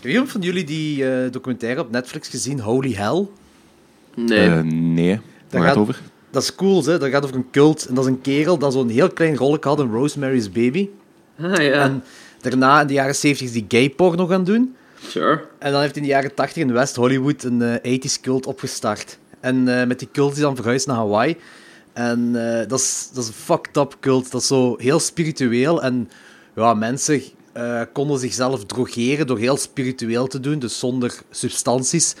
Heeft iemand van jullie die eh, documentaire op Netflix gezien, Holy Hell? Nee. Eh, nee. Waar gaat gaat- het over? Dat is cool, hè? dat gaat over een cult. En dat is een kerel dat zo'n heel klein rolletje had in Rosemary's Baby. ah, ja, En daarna in de jaren 70 die gay porno gaan doen. sure. En dan heeft hij in de jaren 80 in West-Hollywood een eh 80s cult opgestart. En eh, met die cult is hij dan verhuisd naar Hawaii. En eh, dat, is, dat is een fucked up cult. Dat is zo heel spiritueel. En ja, mensen eh, konden zichzelf drogeren door heel spiritueel te doen, dus zonder substanties.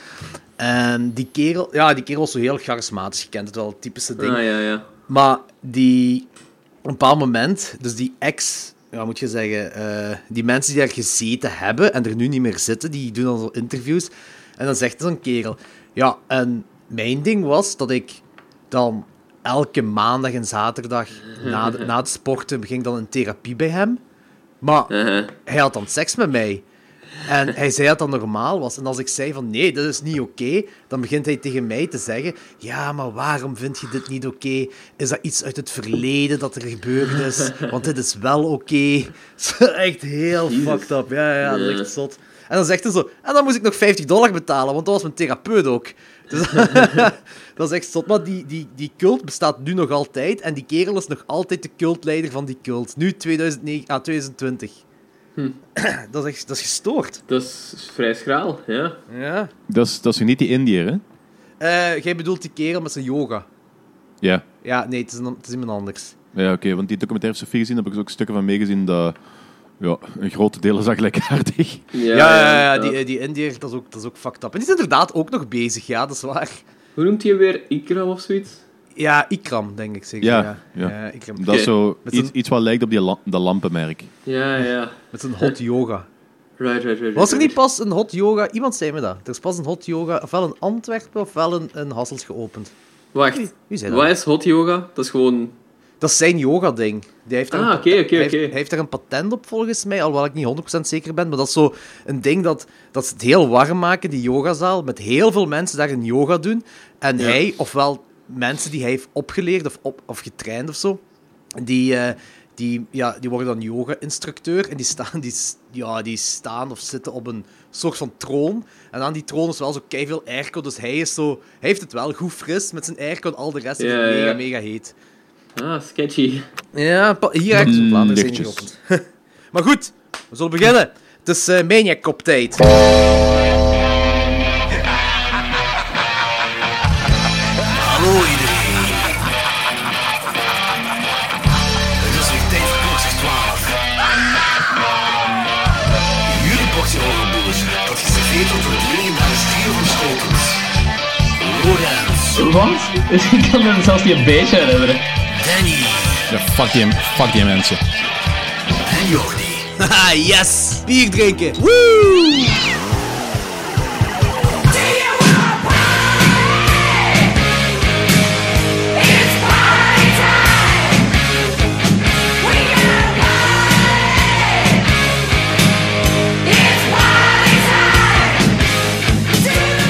En die kerel, ja, die kerel was zo heel charismatisch gekend. Het wel het typische ding. Ah, ja, ja. Maar die, op een bepaald moment, dus die ex, ja, moet je zeggen, eh, die mensen die daar gezeten hebben en er nu niet meer zitten, die doen dan zo interviews. En dan zegt zo'n kerel, ja, en mijn ding was dat ik dan elke maandag en zaterdag na, de- na het sporten ging dan in therapie bij hem. Maar Uh-huh. hij had dan seks met mij. En hij zei dat dat normaal was. En als ik zei van nee, dat is niet oké, dan begint hij tegen mij te zeggen: Ja, maar waarom vind je dit niet oké? Is dat iets uit het verleden dat er gebeurd is? Want dit is wel oké. Echt heel fucked up. Ja, ja, dat is echt zot. En dan zegt hij zo: En dan moest ik nog 50 dollar betalen, want dat was mijn therapeut ook. Dus dat is echt zot. Maar die, die, die cult bestaat nu nog altijd. En die kerel is nog altijd de cultleider van die cult. Nu 2009, ah, 2020. Dat is, echt, dat is gestoord. Dat is vrij schraal, ja. Ja. Dat is, dat is niet die Indiër, hè? Eh, jij bedoelt die kerel met zijn yoga. Ja. Ja, nee, het is, een, het is iemand anders. Ja, oké. want die documentaire Sophie gezien, daar heb ik ook stukken van meegezien dat... Ja, een groot deel is dat gelijkaardig. Ja, ja, ja, inderdaad. die, eh, die Indiër, dat is, ook, dat is ook fucked up. En die is inderdaad ook nog bezig, ja, dat is waar. Hoe noemt hij weer? Ikram of zoiets? Ja, Ikram, denk ik zeker. Ja, Ja, Eh, ja. Ikram. Dat is zo Met iets, zo'n- iets wat lijkt op die la- dat lampenmerk. Ja, ja. Met zijn hot yoga. Right, right, right. right, Was er niet right. pas een hot yoga? Iemand zei me dat. Er is pas een hot yoga, ofwel in Antwerpen, ofwel in, in Hasselt geopend. Wacht. Wie zei dat? Wat is hot yoga? Dat is gewoon... Dat is zijn yoga-ding. Die heeft daar Ah, een oké, pat- oké, hij heeft- oké. Hij heeft daar een patent op, volgens mij, alhoewel ik niet 100% zeker ben. Maar dat is zo een ding dat, dat ze het heel warm maken, die yogazaal, met heel veel mensen daar een yoga doen. En Ja. hij, ofwel mensen die hij heeft opgeleerd of, op, of getraind of zo, die, eh, die, ja, die worden dan yoga-instructeur. En die staan, die, s- ja, die staan of zitten op een soort van troon. En aan die troon is wel zo veel airco, dus hij, is zo, hij heeft het wel goed fris met zijn airco en al de rest is Ja, het mega, ja. mega heet. Ah, sketchy. Ja, pa- hier heb ik zo'n Mm, Vlaanderen zijn lichtjes. geopend. maar goed, we zullen beginnen. Het is eh Maniac Cop tijd. Hallo iedereen. Het is weer tijd voor klokslag 12. Jullie boxje horrorboers, dat geserveerd wordt door het legendare stier van Schotens. Lorenz, Wat? Ik kan me zelfs niet een beetje herinneren. Danny Ja, fuck die, fuck die mensen. en Jordi. Haha, yes! Bier drinken! Woo!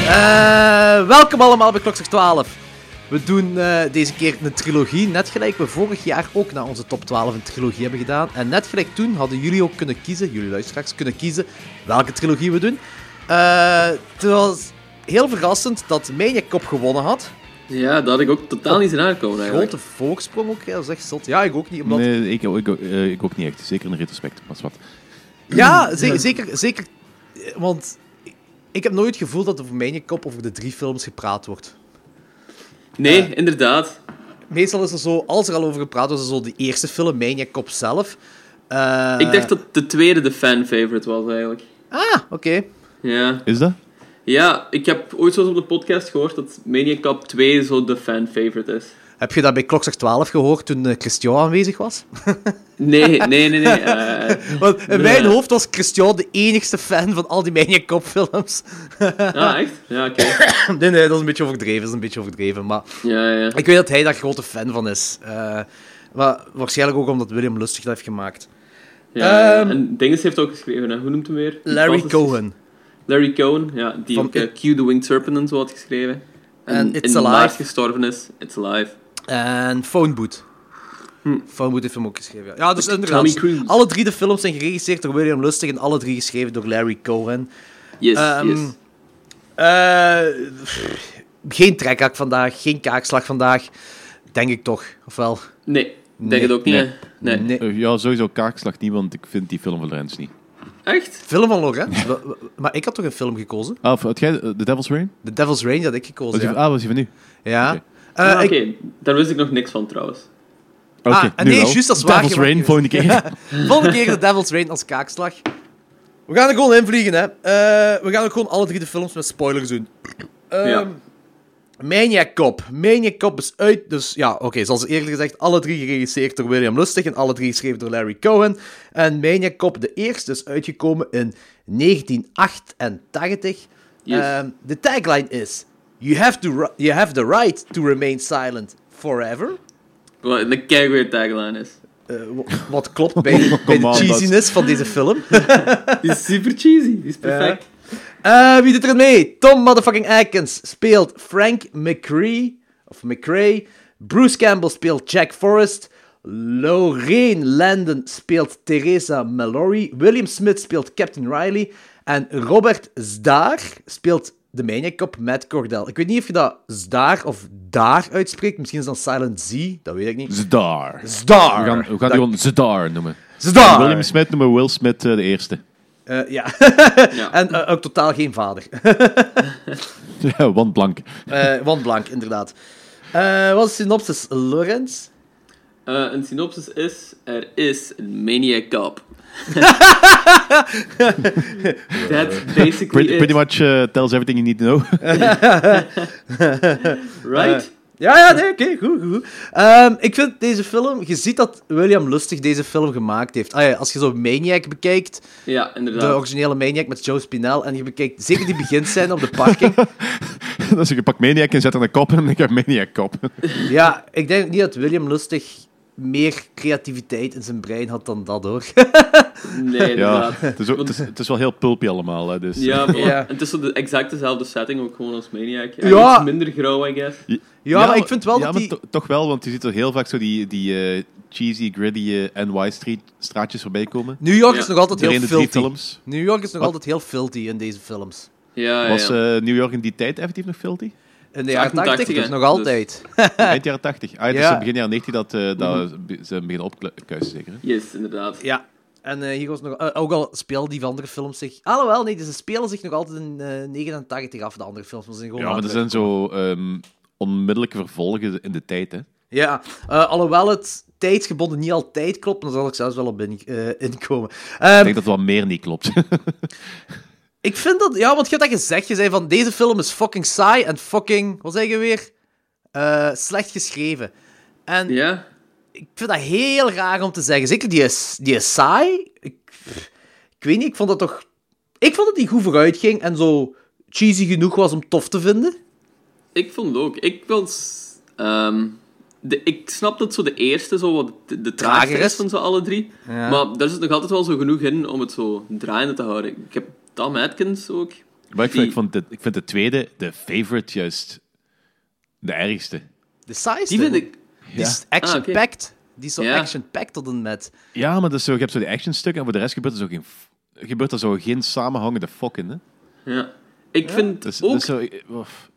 Eh, welkom allemaal bij Klokslag 12. We doen eh, deze keer een trilogie, net gelijk we vorig jaar ook na onze top 12 een trilogie hebben gedaan. En net gelijk toen hadden jullie ook kunnen kiezen, jullie luisteraars, kunnen kiezen welke trilogie we doen. Eh, het was heel verrassend dat Maniac Cop gewonnen had. Ja, dat had ik ook totaal niet in aankomen eigenlijk. Grote voorsprong ook, hè, dat is echt zot. Ja, ik ook niet, omdat... Nee, ik, ik, eh, ik ook niet echt. Zeker in retrospect. Maar is wat. Ja, ze- zeker, zeker. eh, Want ik heb nooit het gevoel dat er voor Maniac Cop over de drie films gepraat wordt. Nee, inderdaad. Meestal is er zo, als er al over gepraat wordt, is er zo de eerste film, Maniac Cop zelf. Eh, Ik dacht dat de tweede de fan-favorite was eigenlijk. Ah, oké. Ja. Is dat? ja, ik heb ooit zoals op de podcast gehoord dat Maniac Cop 2 zo de fan-favorite is. Heb je dat bij Klokzak 12 gehoord toen eh, Christian aanwezig was? Nee, nee, nee, nee. eh, Want in mijn Nee. hoofd was Christian de enigste fan van al die Maniac Cop films. ah, echt? Ja, oké. nee, nee, dat is een beetje overdreven, dat is een beetje overdreven. Maar Ja, ja. ik weet dat hij daar grote fan van is. Eh, maar waarschijnlijk ook omdat William Lustig dat heeft gemaakt. ja Ehm. en Dinges heeft ook geschreven, hè. hoe noemt hem weer? Die Larry gast is- Cohen. Larry Cohen, ja, die Van ook eh, Q the Winged Serpent en zo had geschreven. En It's in Alive. maart gestorven is. It's Alive. En Phone Boot. Phone Boot heeft hem ook geschreven. Ja, ja dus Tommy inderdaad. Cruise. Alle drie de films zijn geregisseerd door William Lustig en alle drie geschreven door Larry Cohen. Yes, Ehm, yes. Eh, pff, geen trekhak vandaag, geen kaakslag vandaag. Denk ik toch, of wel? Nee, denk het ook niet. nee. hè. Nee. Eh, Ja, sowieso kaakslag niet, want ik vind die film van Rens niet. Echt? Film van Laurent? Wa- wa- maar ik had toch een film gekozen? Ah, of had jij eh, The Devil's Rain? The Devil's Range had ik Was gekozen, die, ja. Ah, was die van nu? Ja. Oké. Eh, Ah, Oké, ik- daar wist ik nog niks van trouwens. Oké, ah, nu nee, wel. juist, dat is waar. Devil's Je Rain, mag- volgende keer. Volgende keer de Devil's Rain als kaakslag. We gaan er gewoon in vliegen, hè. Eh, we gaan ook gewoon alle drie de films met spoilers doen. Ehm Ja. Maniac Cop. Maniac Cop is uit, dus ja, oké, zoals eerder gezegd, alle drie geregisseerd door William Lustig en alle drie geschreven door Larry Cohen. En Maniac Cop, de eerste, is uitgekomen in 1988. Yes. Ehm, de tagline is, you have, to ri- you have the right to remain silent forever. Wat een keigoeie tagline is. Eh, wa- wat klopt bij, bij de on, dat is- cheesiness van deze film. Die is super cheesy, die is perfect. Eh, wie doet er mee? Tom motherfucking Atkins speelt Frank McCree. Of McCray. Bruce Campbell speelt Jack Forrest. Lorraine Landon speelt Theresa Mallory. William Smith speelt Captain Riley. En Robert Zdaar speelt de Maniac Cop Matt Cordell. Ik weet niet of je dat Zdaar of Daar uitspreekt. Misschien is dat Silent Z. Dat weet ik niet. Zdar. Zdaar. We gaan, we gaan die Dat- gewoon Zdar noemen. Zdaar. William Smith noemen we Will Smith eh, de eerste. Eh, ja. Ja. en eh, ook totaal geen vader. Ja, want blank. Eh want blank, inderdaad. Eh, wat is de synopsis, Lorenz? Eh, een synopsis is, er is een maniac cop. That's basically Pretty, it, pretty much eh, tells everything you need to know. right? eh, Ja, ja, nee, oké, goed, goed. goed. Ehm, ik vind deze film... Je ziet dat William Lustig deze film gemaakt heeft. Ah, ja, als je zo Maniac bekijkt, ja, de inderdaad. originele Maniac met Joe Spinell, en je bekijkt zeker die beginscène op de parking. Dat is een pak Maniac en zet er een kop en ik heb Maniac kop. Ja, ik denk niet dat William Lustig meer creativiteit in zijn brein had dan dat, hoor. Nee, Ja, inderdaad. het is, ook- het, is, het is wel heel pulpy allemaal. Hè, dus. Ja, voilà. Ja. En het is zo de exact dezelfde setting, ook gewoon als Maniac. Ja, Ja. Iets minder grauw, I guess. Ja, maar ik vind wel ja, dat maar die... to- toch wel, want je ziet er heel vaak zo die, die eh, cheesy, gritty eh, NY Street straatjes voorbij komen. New York Ja. is nog altijd Iedereen heel de drie filthy. films. New York is nog Wat? altijd heel filthy in deze films. Ja, ja, Was Ah, ja. eh, New York in die tijd effectief nog filthy? In de jaren 88, 80 dus hè, nog dus. altijd. Eind jaren 80. Ah, het is Ja. Mhm. begin jaren 90 dat, eh, dat ze hem beginnen opkuisen, zeker. hè? Yes, inderdaad. Ja. En eh, hier was nog... eh, ook al spelen die van andere films zich... Alhoewel, nee, ze spelen zich nog altijd in eh 89 af, de andere films. Maar ze zijn gewoon Ja, maar er later zijn zo ehm, onmiddellijke vervolgen in de tijd. Hè. Ja, eh, alhoewel het tijdsgebonden niet altijd klopt, maar daar zal ik zelfs wel op in, eh, inkomen. Ehm, Ik denk dat er wel meer niet klopt. ik vind dat... Ja, want je hebt dat gezegd. Je zei van, deze film is fucking saai en fucking... Wat zeg je weer? Eh, slecht geschreven. En Ja? ik vind dat heel raar om te zeggen. Zeker die, is- die is saai. Ik, ik weet niet, ik vond dat toch... Ik vond dat die goed vooruit ging en zo cheesy genoeg was om tof te vinden. Ik vond het ook. Ik was... ehm, de, ik snap dat zo de eerste zo wat de, de trager Trager is. is van zo alle drie. Maar daar zit nog altijd wel zo genoeg in om het zo draaiende te houden. Ik heb Tom Atkins ook. Maar ik vind, Die- ik, vond de, ik vind de tweede, de favorite, juist de ergste. De saaiste. Die vind ik... Die is Ah, action-packed. Die is zo Ja. action-packed tot een met. Ja, maar dat is zo, je hebt zo die actionstukken en voor de rest gebeurt er zo geen, f- gebeurt er zo geen samenhangende fuck in. Hè? Ja. Ik vind Dus, ook... dus zo, ik- of-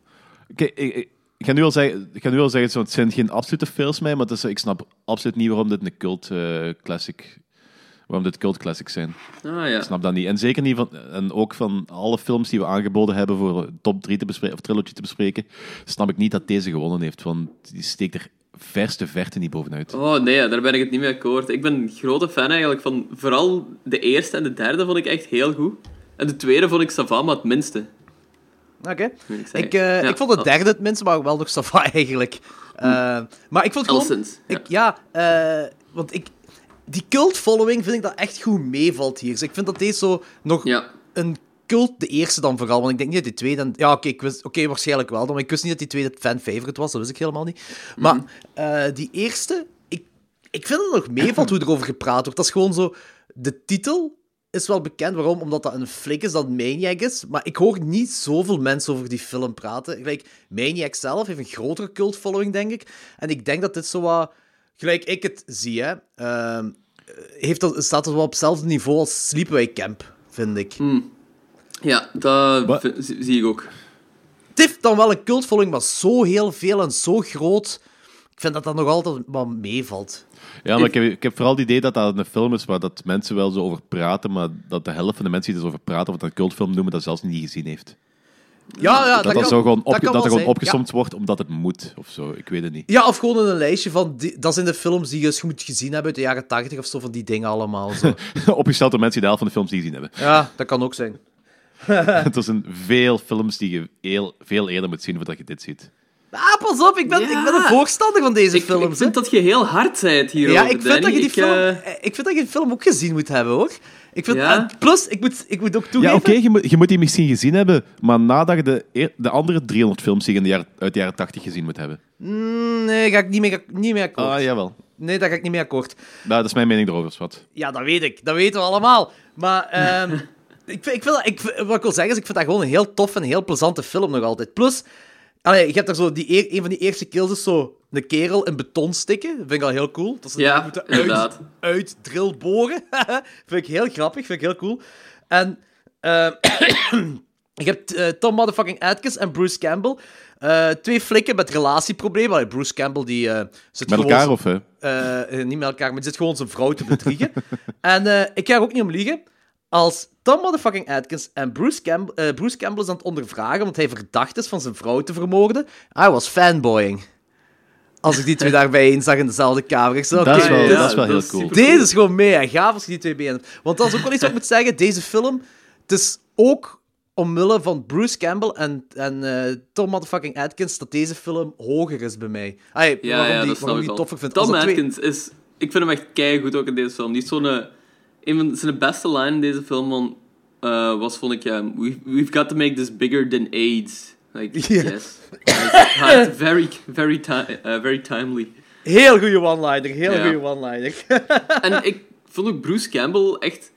Oké, ik, ik, ik ga nu al zeggen, ik ga nu al zeggen zo, het zijn geen absolute fails mij, maar het is zo, ik snap absoluut niet waarom dit een cult eh, classic waarom dit cult classics zijn. Ah, ja. Ik snap dat niet. En zeker niet van, en ook van alle films die we aangeboden hebben voor top 3 te bespreken, of trilogy te bespreken, snap ik niet dat deze gewonnen heeft, want die steekt er verste verte niet bovenuit. Oh nee, daar ben ik het niet mee akkoord. Ik ben een grote fan eigenlijk van... Vooral de eerste en de derde vond ik echt heel goed. En de tweede vond ik Savama het minste. Oké. moet ik zeggen. Ik, eh, Ja. ik vond het Oh. derde het minst, maar wel nog sava eigenlijk. Eh, Maar ik vond gewoon... Elsens. Ja. Ik, ja, eh, want ik... Die cult-following vind ik dat echt goed meevalt hier. Dus ik vind dat deze zo nog Ja. een cult, de eerste dan vooral. Want ik denk niet dat die tweede... dan- Ja, oké, ik wist- oké, waarschijnlijk wel. dan, Maar ik wist niet dat die tweede fan-favorite was. Dat wist ik helemaal niet. Maar eh, die eerste... Ik, ik vind het nog meevalt hoe erover gepraat wordt. Dat is gewoon zo... De titel is wel bekend. Waarom? Omdat dat een flik is dat Maniac is. Maar ik hoor niet zoveel mensen over die film praten. Gelijk, Maniac zelf heeft een grotere cult-following, denk ik. En ik denk dat dit zo wat... Gelijk ik het zie, hè... ehm, heeft dat, staat dat wel op hetzelfde niveau als Sleepaway Camp, vind ik. Ja, dat Wat? vind- zie zie ik ook. Het heeft dan wel een cultvolging, maar zo heel veel en zo groot. Ik vind dat dat nog altijd wat meevalt. Ja, maar ik heb, ik heb vooral het idee dat dat een film is waar dat mensen wel zo over praten, maar dat de helft van de mensen die er zo over praten, of dat een cultfilm noemen, dat zelfs niet gezien heeft. Ja, ja, dat, dat kan, dat, zo gewoon opge- kan dat wel er gewoon zijn. opgesomd wordt omdat het moet, of zo. Ik weet het niet. Ja. ja, of gewoon in een lijstje van... Die, dat zijn de films die je eens moet gezien hebben uit de jaren tachtig of zo, van die dingen allemaal. Zo. Opgesteld door mensen die de helft van de films die gezien hebben. Ja, dat kan ook zijn. er zijn veel films die je heel, veel eerder moet zien voordat je dit ziet. Ah, pas op, ik ben, Ja. ik ben een voorstander van deze Ik, films. ik vind hè. dat je heel hard bent hierover, ja, ik vind, dat je die Danny. Ik, film, eh, eh, ik vind dat je die film ook gezien moet hebben, hoor. Ik vind, Ja. en plus, ik moet, ik moet ook Ja, toegeven... oké, je, moet, je moet die misschien gezien hebben, maar nadat je de, eer- de andere 300 films die je in de jaren- uit de jaren 80 gezien moet hebben. Nee, eh, ga ik niet mee, niet mee akkoord. Ah, jawel. Nee, daar ga ik niet mee akkoord. Nou, dat is mijn mening erover, Swat. Ja, dat weet ik. Dat weten we allemaal. Maar ehm, ik, vind- ik vind dat, ik, vind- wat ik wil zeggen is, ik vind dat gewoon een heel tof en heel plezante film nog altijd. Plus, allee, je hebt daar zo die, eer- een van die eerste kills is zo een kerel in beton stikken. Vind ik al heel cool. Dat ze Ja, die moeten uit, inderdaad. uit drill boren. vind ik heel grappig, vind ik heel cool. En ehm, je hebt eh, Tom motherfucking Atkins en Bruce Campbell. Eh, twee flikken met relatieproblemen. Allee, Bruce Campbell die eh, zit Met gewoon elkaar zo- of... hè? eh, eh, niet met elkaar, maar die zit gewoon zijn vrouw te bedriegen. en eh, ik ga er ook niet om liegen. Als Tom motherfucking Atkins en Bruce, Camp eh, Bruce Campbell is aan het ondervragen, omdat hij verdacht is van zijn vrouw te vermoorden, I was fanboying. Als ik die twee daarbij eens zag in dezelfde kamer. Ik zei, oké, Dat is wel, dit- ja, dat is wel dus- dat heel is cool. super- deze is gewoon mega gaaf als je die twee benen hebt. Want dat is ook wel iets wat ik moet zeggen. Deze film, het is ook omwille van Bruce Campbell en, en eh, Tom motherfucking Atkins, dat deze film hoger is bij mij. Ay, Ja, waarom ja, die, dat snap waarom ik die wel. toffer vind. Als Tom dat twee- Atkins is... Ik vind hem echt keigoed ook in deze film. Die is zo'n... eh, Een van zijn beste line in deze film van, eh, was, vond ik... eh, we, we've got to make this bigger than AIDS. Like, Ja. yes. Like, hard, very, very, ti- eh, very timely. Heel goede one-liner, heel Ja. goede one-liner. En ik vond ook Bruce Campbell echt...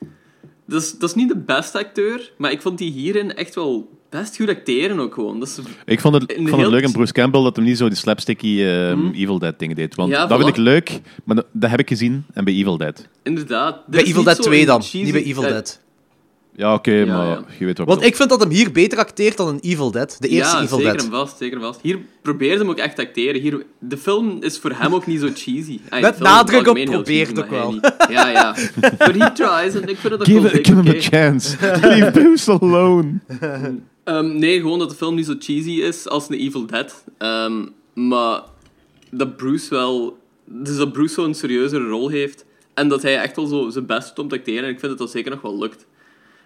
Dat is, dat is niet de beste acteur, maar ik vond die hierin echt wel best goed acteren ook gewoon. Dat is, Ik vond het, In ik de vond het heel- Hmm? leuk aan Bruce Campbell dat hij niet zo die slapsticky ehm, Evil Dead dingen deed. Want Ja, dat vind voilà. ik leuk, maar dat, dat heb ik gezien en bij Evil Dead. inderdaad... dit Bij is Evil niet Dead zo'n 2 dan, cheesy- niet bij Evil eh, Dead. Ja, oké, Ja, maar ja. je weet Want wat bedoel. ik vind dat hem hier beter acteert dan een Evil Dead, de eerste ja, Evil zeker Dead. en vast, zeker en vast. Hier probeert hem ook echt te acteren. Hier, de film is voor hem ook niet zo cheesy. Ah, Met de film is nadruk op algemeen heel probeert cheesy, ook maar hij wel. niet. Ja, ja. But he tries, en ik vind het ook wel Give, zeker give him a oké. chance. Leave Bruce alone. Ehm, nee, gewoon dat de film niet zo cheesy is als een Evil Dead. Ehm, maar dat Bruce wel... Dus dat Bruce zo'n serieuzere rol heeft. En dat hij echt wel zo zijn best doet om te acteren. En ik vind dat dat zeker nog wel lukt.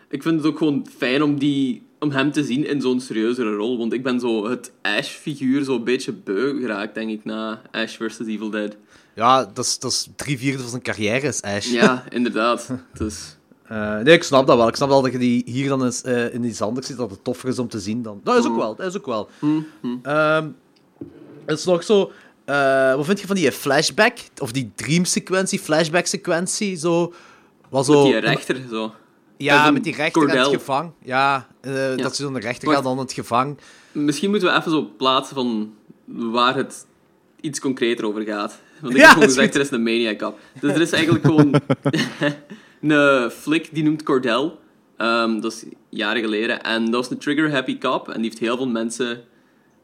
Ik vind het ook gewoon fijn om, die, om hem te zien in zo'n serieuzere rol. Want ik ben zo het Ash-figuur zo'n beetje beu geraakt, denk ik, na Ash vs. Evil Dead. Ja, dat is, dat is drie vierde van zijn carrière, is Ash. Ja, inderdaad. Dus... Eh, nee, ik snap dat wel. Ik snap wel dat je die hier dan eens, eh, in iets anders zit, dat het toffer is om te zien dan. Dat is ook wel, dat is ook wel. Ehm, het is nog zo... eh, wat vind je van die flashback? Of die dream-sequentie, flashback-sequentie, zo... Was zo Die rechter, zo. met ja, een met die rechter en het cordel. gevang. Ja, eh, dat ze dan de rechter gaan Wacht. dan het gevang. Misschien moeten we even zo plaatsen van waar het iets concreter over gaat. Want ik Ja, heb gewoon is gezegd, goed. er is een maniac op. Dus er is eigenlijk gewoon een flik die noemt Cordell. Ehm, dat is jaren geleden. En dat was een trigger happy cop. En die heeft heel veel mensen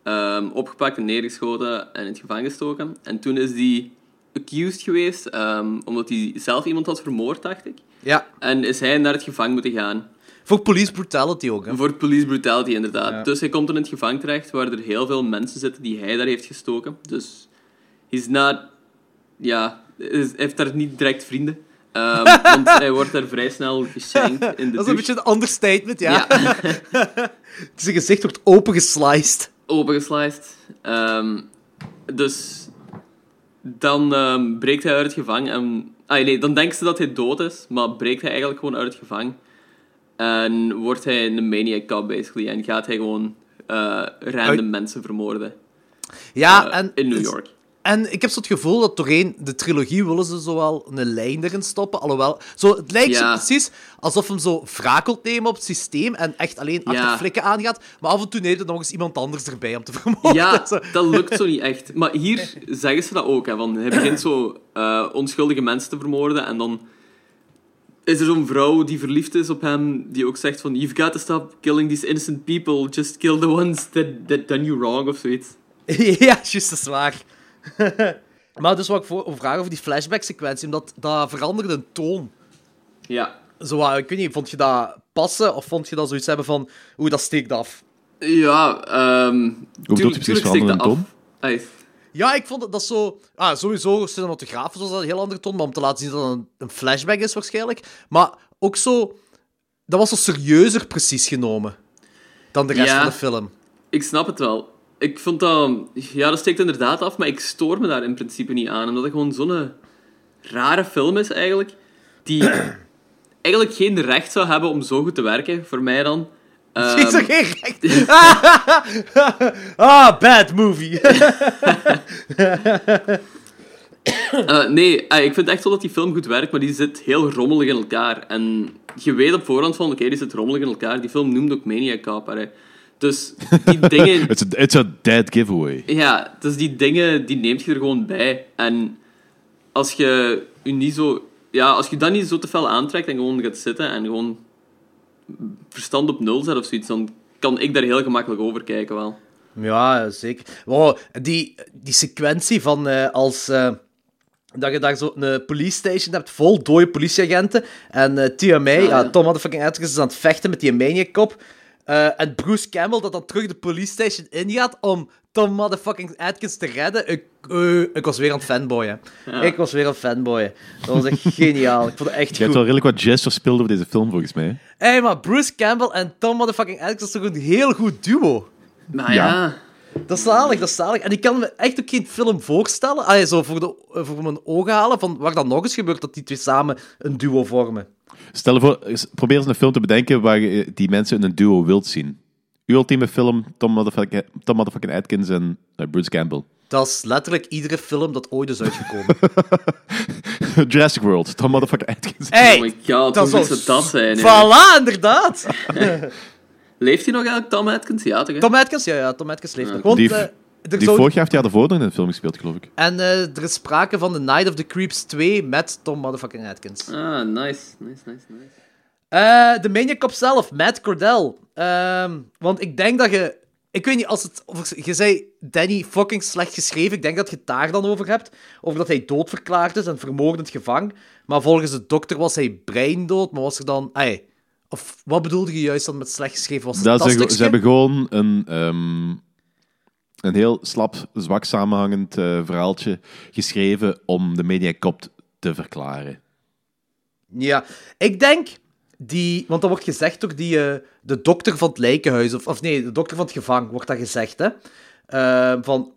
ehm, opgepakt en neergeschoten en in het gevangen gestoken. En toen is die accused geweest, ehm, omdat hij zelf iemand had vermoord, dacht ik. Ja, En is hij naar het gevangen moeten gaan. voor police brutality ook, hè. Voor police brutality, inderdaad. Ja. Dus hij komt in het gevangen terecht, waar er heel veel mensen zitten die hij daar heeft gestoken. Dus he's not... Ja, is- heeft daar niet direct vrienden. Ehm, want hij wordt daar vrij snel geschenkt in de Dat is douche. een beetje een understatement, ja. Ja, Zijn gezicht wordt opengesliced. opengesliced. Ehm, dus dan ehm, breekt hij uit het gevangen. En, ah nee, dan denken ze dat hij dood is, maar breekt hij eigenlijk gewoon uit het gevangen. En wordt hij een maniac cop, basically. En gaat hij gewoon eh, random Uit- mensen vermoorden. Ja, Eh, en... dus in New York. En ik heb zo het gevoel dat doorheen de trilogie willen ze zo wel een lijn erin stoppen. Alhoewel, zo, het lijkt Ja. zo precies alsof hem zo wraak wilt nemen op het systeem en echt alleen achter Ja. flikken aangaat. Maar af en toe neemt er nog eens iemand anders erbij om te vermoorden. Ja, Zo. dat lukt zo niet echt. Maar hier zeggen ze dat ook. Hè, van, hij begint zo eh, onschuldige mensen te vermoorden en dan is er zo'n vrouw die verliefd is op hem, die ook zegt van... You've got to stop killing these innocent people. Just kill the ones that, that done you wrong, of zoiets. ja, juist, dat is waar. maar dus wat ik voor, vraag over die flashback-sequentie, omdat dat veranderde een toon. Ja. Zo, wat, ik weet niet, vond je dat passen of vond je dat zoiets hebben van, oeh, dat steekt af? Ja, ehm... bedoelt tuurlijk- u precies tuurlijk veranderen, steekt dat af. Tom? Ai. Ja, ik vond dat, dat zo... Ah, sowieso, cinematografisch was dat een heel andere toon, maar om te laten zien dat het een, een flashback is waarschijnlijk. Maar ook zo... Dat was zo serieuzer precies genomen dan de rest Ja. van de film. Ik snap het wel. Ik vond dat... Ja, dat steekt inderdaad af, maar ik stoor me daar in principe niet aan. Omdat het gewoon zo'n eh, rare film is, eigenlijk. Die eigenlijk geen recht zou hebben om zo goed te werken, voor mij dan. Ehm, is er geen recht? ah, bad movie. Eh, nee, eh, ik vind echt wel dat die film goed werkt, maar die zit heel rommelig in elkaar. En je weet op voorhand van, oké, die zit rommelig in elkaar. Die film noemt ook Maniac Cop, hè. Dus die dingen... It's a, it's a dead giveaway. Ja, dus die dingen, die neemt je er gewoon bij. En als je je niet zo... Ja, als je dat niet zo te fel aantrekt en gewoon gaat zitten en gewoon verstand op nul zet of zoiets, dan kan ik daar heel gemakkelijk over kijken wel. Ja, zeker. Wow, die, die sequentie van eh, als... eh, dat je daar zo een police station hebt vol dode politieagenten. En eh TMA, ja, ja. Tom had de fucking Atkins is aan het vechten met die maniacop. Eh en Bruce Campbell dat dan terug de police station ingaat om Tom motherfucking Atkins te redden. Ik, eh, ik was weer aan het fanboyen. Ik was weer aan het fanboyen. Dat was echt geniaal. Ik vond het echt Je goed. hebt wel redelijk wat jazz verspeeld over deze film, volgens mij. Hé, hey, maar Bruce Campbell en Tom motherfucking Atkins is toch een heel goed duo? Maar Ja. ja. Dat is zalig, dat is zalig. En ik kan me echt ook geen film voorstellen, ah, zo voor, de, eh, voor mijn ogen halen, van waar dat nog eens gebeurt, dat die twee samen een duo vormen. Stel je voor, eens- probeer eens een film te bedenken waar je die mensen in een duo wilt zien. Uw ultieme film, Tom motherfucking, Tom motherfucking Atkins en eh, Bruce Campbell. Dat is letterlijk iedere film dat ooit is uitgekomen. Jurassic World, Tom motherfucking Atkins. hey, Oh my god, dat hoe zal moet dat zijn? hè? Voilà, inderdaad. Leeft hij nog eigenlijk, Tom Atkins? Ja, toch? hè? Tom Atkins, ja, ja, Tom Atkins leeft nog. Want, Die- eh, er Die zou- vorig jaar heeft hij daarvoor nog in een film gespeeld, geloof ik. En eh, er is sprake van The Night of the Creeps 2 met Tom motherfucking Atkins. Ah, nice. Nice, nice, nice. Eh, de Maniacop zelf, Matt Cordell. Ehm, want ik denk dat je... Ik weet niet, als het... of- Je zei Danny fucking slecht geschreven. Ik denk dat je het daar dan over hebt. Over dat hij doodverklaard is en vermoordend gevang. Maar volgens de dokter was hij breindood. Maar was er dan... Ai, of wat bedoelde je juist dan met slecht geschreven? Was het Dat dat ze, stukje? ze hebben gewoon een, ehm, een heel slap, zwak samenhangend eh, verhaaltje geschreven om de mediacop te verklaren. Ja, ik denk die... Want dat wordt gezegd door die, eh, de dokter van het lijkenhuis. Of, of nee, de dokter van het gevang wordt dat gezegd, hè. Eh, van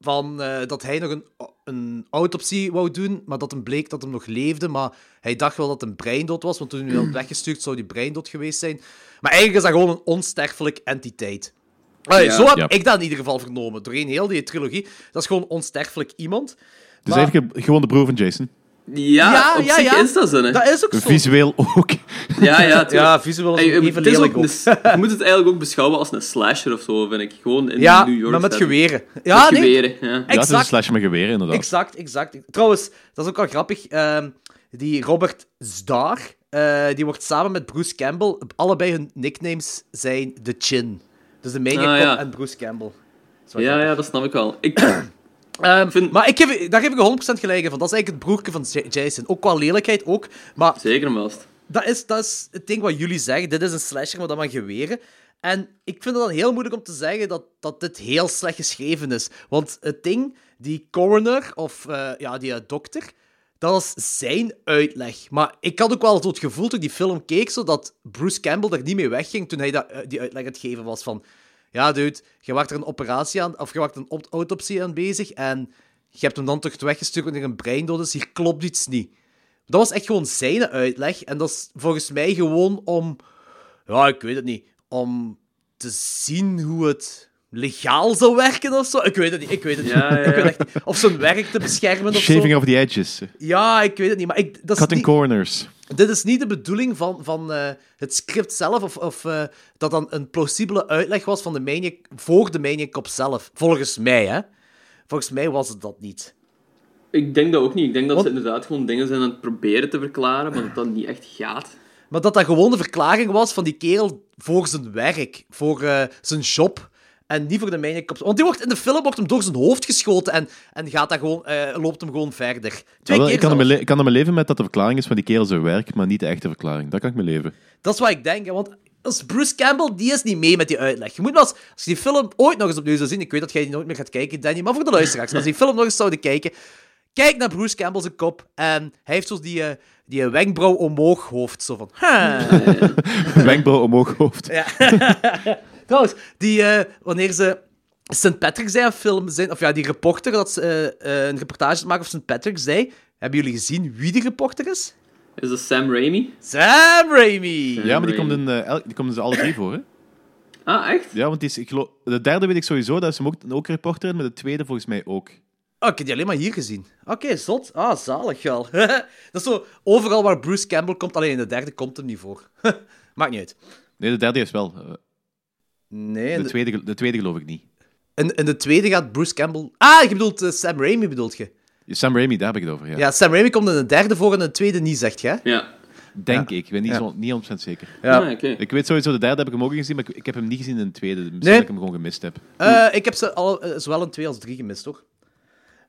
van eh, dat hij nog een, een autopsie wou doen, maar dat hem bleek dat hem nog leefde. Maar hij dacht wel dat hem breindood was, want toen hij werd weggestuurd zou hij breindood geweest zijn. Maar eigenlijk is dat gewoon een onsterfelijk entiteit. Allee, Ja. zo heb Ja. ik dat in ieder geval vernomen. Doorheen heel die trilogie. Dat is gewoon onsterfelijk iemand. Het is Maar- Dus eigenlijk gewoon de broer van Jason. Ja, op zich is dat zo, hè? Dat is ook zo. Visueel ook. Ja, ja, tuurlijk. Ja, visueel is Ey, ook even het is ook lelijk een ook. s- je moet het eigenlijk ook beschouwen als een slasher of zo, vind ik. Gewoon in Ja, New York. maar met setting. geweren. Ja, Met nee, geweren, ja. Ja, het is een Exact. slash met geweren, inderdaad. Exact, exact. Trouwens, dat is ook wel grappig. ehm, die Robert Zdar, eh, die wordt samen met Bruce Campbell... Allebei hun nicknames zijn de Chin. Dus de Maniac Ah, Cop ja. en Bruce Campbell. Dat is wel Ja, grappig. ja, dat snap ik wel. Ik, Ehm, vind- Maar ik geef, daar geef ik je 100% gelijk in van. Dat is eigenlijk het broertje van Ja- Jason. Ook qua lelijkheid, ook. Maar zeker vast. dat is, dat is het ding wat jullie zeggen. Dit is een slasher, maar dan maar geweren. En ik vind het dan heel moeilijk om te zeggen dat, dat dit heel slecht geschreven is. Want het ding, die coroner, of eh, ja, die eh, dokter, dat is zijn uitleg. Maar ik had ook wel zo het gevoel toen ik die film keek, zo dat Bruce Campbell er niet mee wegging toen hij dat, eh, die uitleg aan het geven was van... Ja, dude, je wacht er een operatie aan, of je wacht een op- autopsie aan bezig en je hebt hem dan toch weggestuurd wanneer een breindood is. Hier klopt iets niet. Dat was echt gewoon zijn uitleg. En dat is volgens mij gewoon om... Ja, ik weet het niet. Om te zien hoe het legaal zou werken of zo. Ik weet het niet, ik weet het niet. Ja, ja, ja. Ik weet echt niet. Of zijn werk te beschermen of Shaving zo. off the edges. eh. Ja, ik weet het niet. Maar ik, dat is Cutting niet, corners. dit is niet de bedoeling van, van eh, het script zelf. Of, of eh, dat dan een plausibele uitleg was van de maniac, voor de maniac op zelf. Volgens mij, hè. Volgens mij was het dat niet. Ik denk dat ook niet. Ik denk dat Want- ze inderdaad gewoon dingen zijn aan het proberen te verklaren, maar dat dat niet echt gaat. Maar dat dat gewoon de verklaring was van die kerel voor zijn werk, voor eh, zijn job. En niet voor de mijnenkop. Want die wordt, in de film wordt hem door zijn hoofd geschoten en, en gaat dat gewoon, eh, loopt hem gewoon verder. Twee Jawel, keer ik, kan zelfs. er mijn le- ik kan er mijn leven met dat de verklaring is van die kerel zijn werk, maar niet de echte verklaring. Dat kan ik me leven. Dat is wat ik denk. hè, Want als Bruce Campbell, die is niet mee met die uitleg. Je moet wel eens, als je die film ooit nog eens opnieuw zou zien, ik weet dat jij die nooit meer gaat kijken, Danny, maar voor de luisteraars, als je die film nog eens zouden kijken, kijk naar Bruce Campbell zijn kop en hij heeft zo die, eh, die eh, wenkbrauw omhoog hoofd, zo van... "Huh." Wenkbrauw omhoog hoofd. Trouwens, die, eh, wanneer ze St. Patrick's Day aan het filmen zijn, of ja, die reporter dat ze eh, eh, een reportage te maken over St. Patrick's Day, hebben jullie gezien wie die reporter is? Is dat Sam Raimi? Sam Raimi! Ja, maar die komt, in, eh, elk- die komt dus alle drie voor, hè? Ah, echt? Ja, want die is, ik geloof, de derde weet ik sowieso, daar is hem ook, ook reporter in, maar de tweede volgens mij ook. Oh, ik heb die alleen maar hier gezien. Oké, zot. Ah, zalig wel. dat is zo overal waar Bruce Campbell komt, alleen in de derde komt hem niet voor. Maakt niet uit. Nee, de derde is wel. eh, Nee, in de, de, tweede, gel- de tweede geloof ik niet. in, in de tweede gaat Bruce Campbell... Ah, je bedoelt eh, Sam Raimi, bedoelt je? Sam Raimi, daar heb ik het over, ja. Ja, Sam Raimi komt in de derde voor en in de tweede niet, zegt je? hè? Ja. Denk ik, ik ben niet, Ja. zo, niet 100% zeker. Ja. Ah, oké. Ik weet sowieso, de derde heb ik hem ook gezien, maar ik, ik heb hem niet gezien in de tweede. dus Misschien Nee. dat ik hem gewoon gemist heb. Eh, ik heb ze al, eh, zowel een twee als drie gemist, hoor.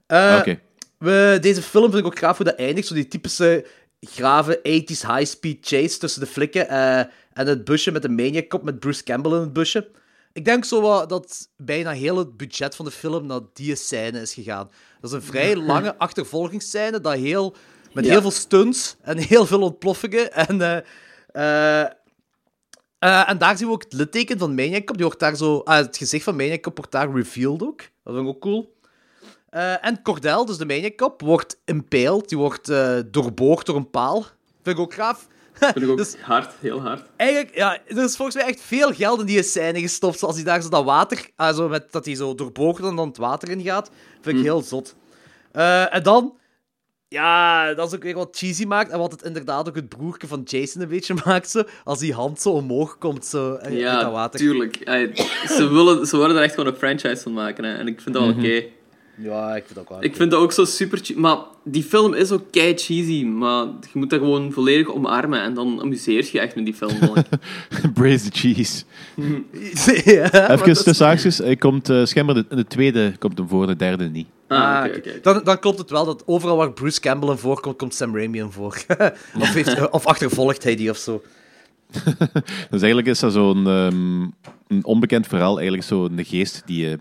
Eh, Ah, Oké. we, deze film vind ik ook graaf hoe dat eindigt. Zo die typische grave 80s high-speed chase tussen de flikken eh, en het busje met de maniacop met Bruce Campbell in het busje. Ik denk zo wat dat bijna heel het budget van de film naar die scène is gegaan. Dat is een vrij lange achtervolgingsscène dat heel, met Ja. heel veel stunts en heel veel ontploffingen. En, eh, eh, eh, en daar zien we ook het litteken van Maniacop. Die wordt daar zo, ah, het gezicht van Maniacop wordt daar revealed ook. Dat vind ik ook cool. Eh, en Cordel, dus de mijnenkop, wordt impaled. Die wordt eh, doorboord door een paal. Vind ik ook gaaf. Vind ik ook Dus- hard, heel hard. Eigenlijk, ja, er is volgens mij echt veel geld in die scène gestopt. Zoals hij daar zo dat water, ah, zo met, dat hij zo doorboord en dan het water in gaat. Vind ik Mm. heel zot. Eh, en dan, ja, dat is ook weer wat cheesy maakt. En wat het inderdaad ook het broerke van Jason een beetje maakt. Zo, als die hand zo omhoog komt, zo, eh, uit dat Ja, water. tuurlijk. Ey, ze, willen, ze willen er echt gewoon een franchise van maken. Hè. En ik vind dat Mhm. wel oké. Ja, ik vind dat ook wel. Ik vind dat ook zo super... che- Maar die film is ook kei cheesy. Maar je moet dat gewoon volledig omarmen. En dan amuseer je echt met die film. vond ik. Braise the cheese. Ja, maar dat Even is- tussen haakjes, hij komt eh, schijnbaar de, in de tweede komt hem voor, de derde niet. Ah, Ah, oké, oké. oké. Dan, dan klopt het wel dat overal waar Bruce Campbell in voorkomt, komt Sam Raimi in voor. of, heeft, eh, of achtervolgt hij die of zo. Dus eigenlijk is dat zo'n ehm, een onbekend verhaal, eigenlijk zo'n geest die eh,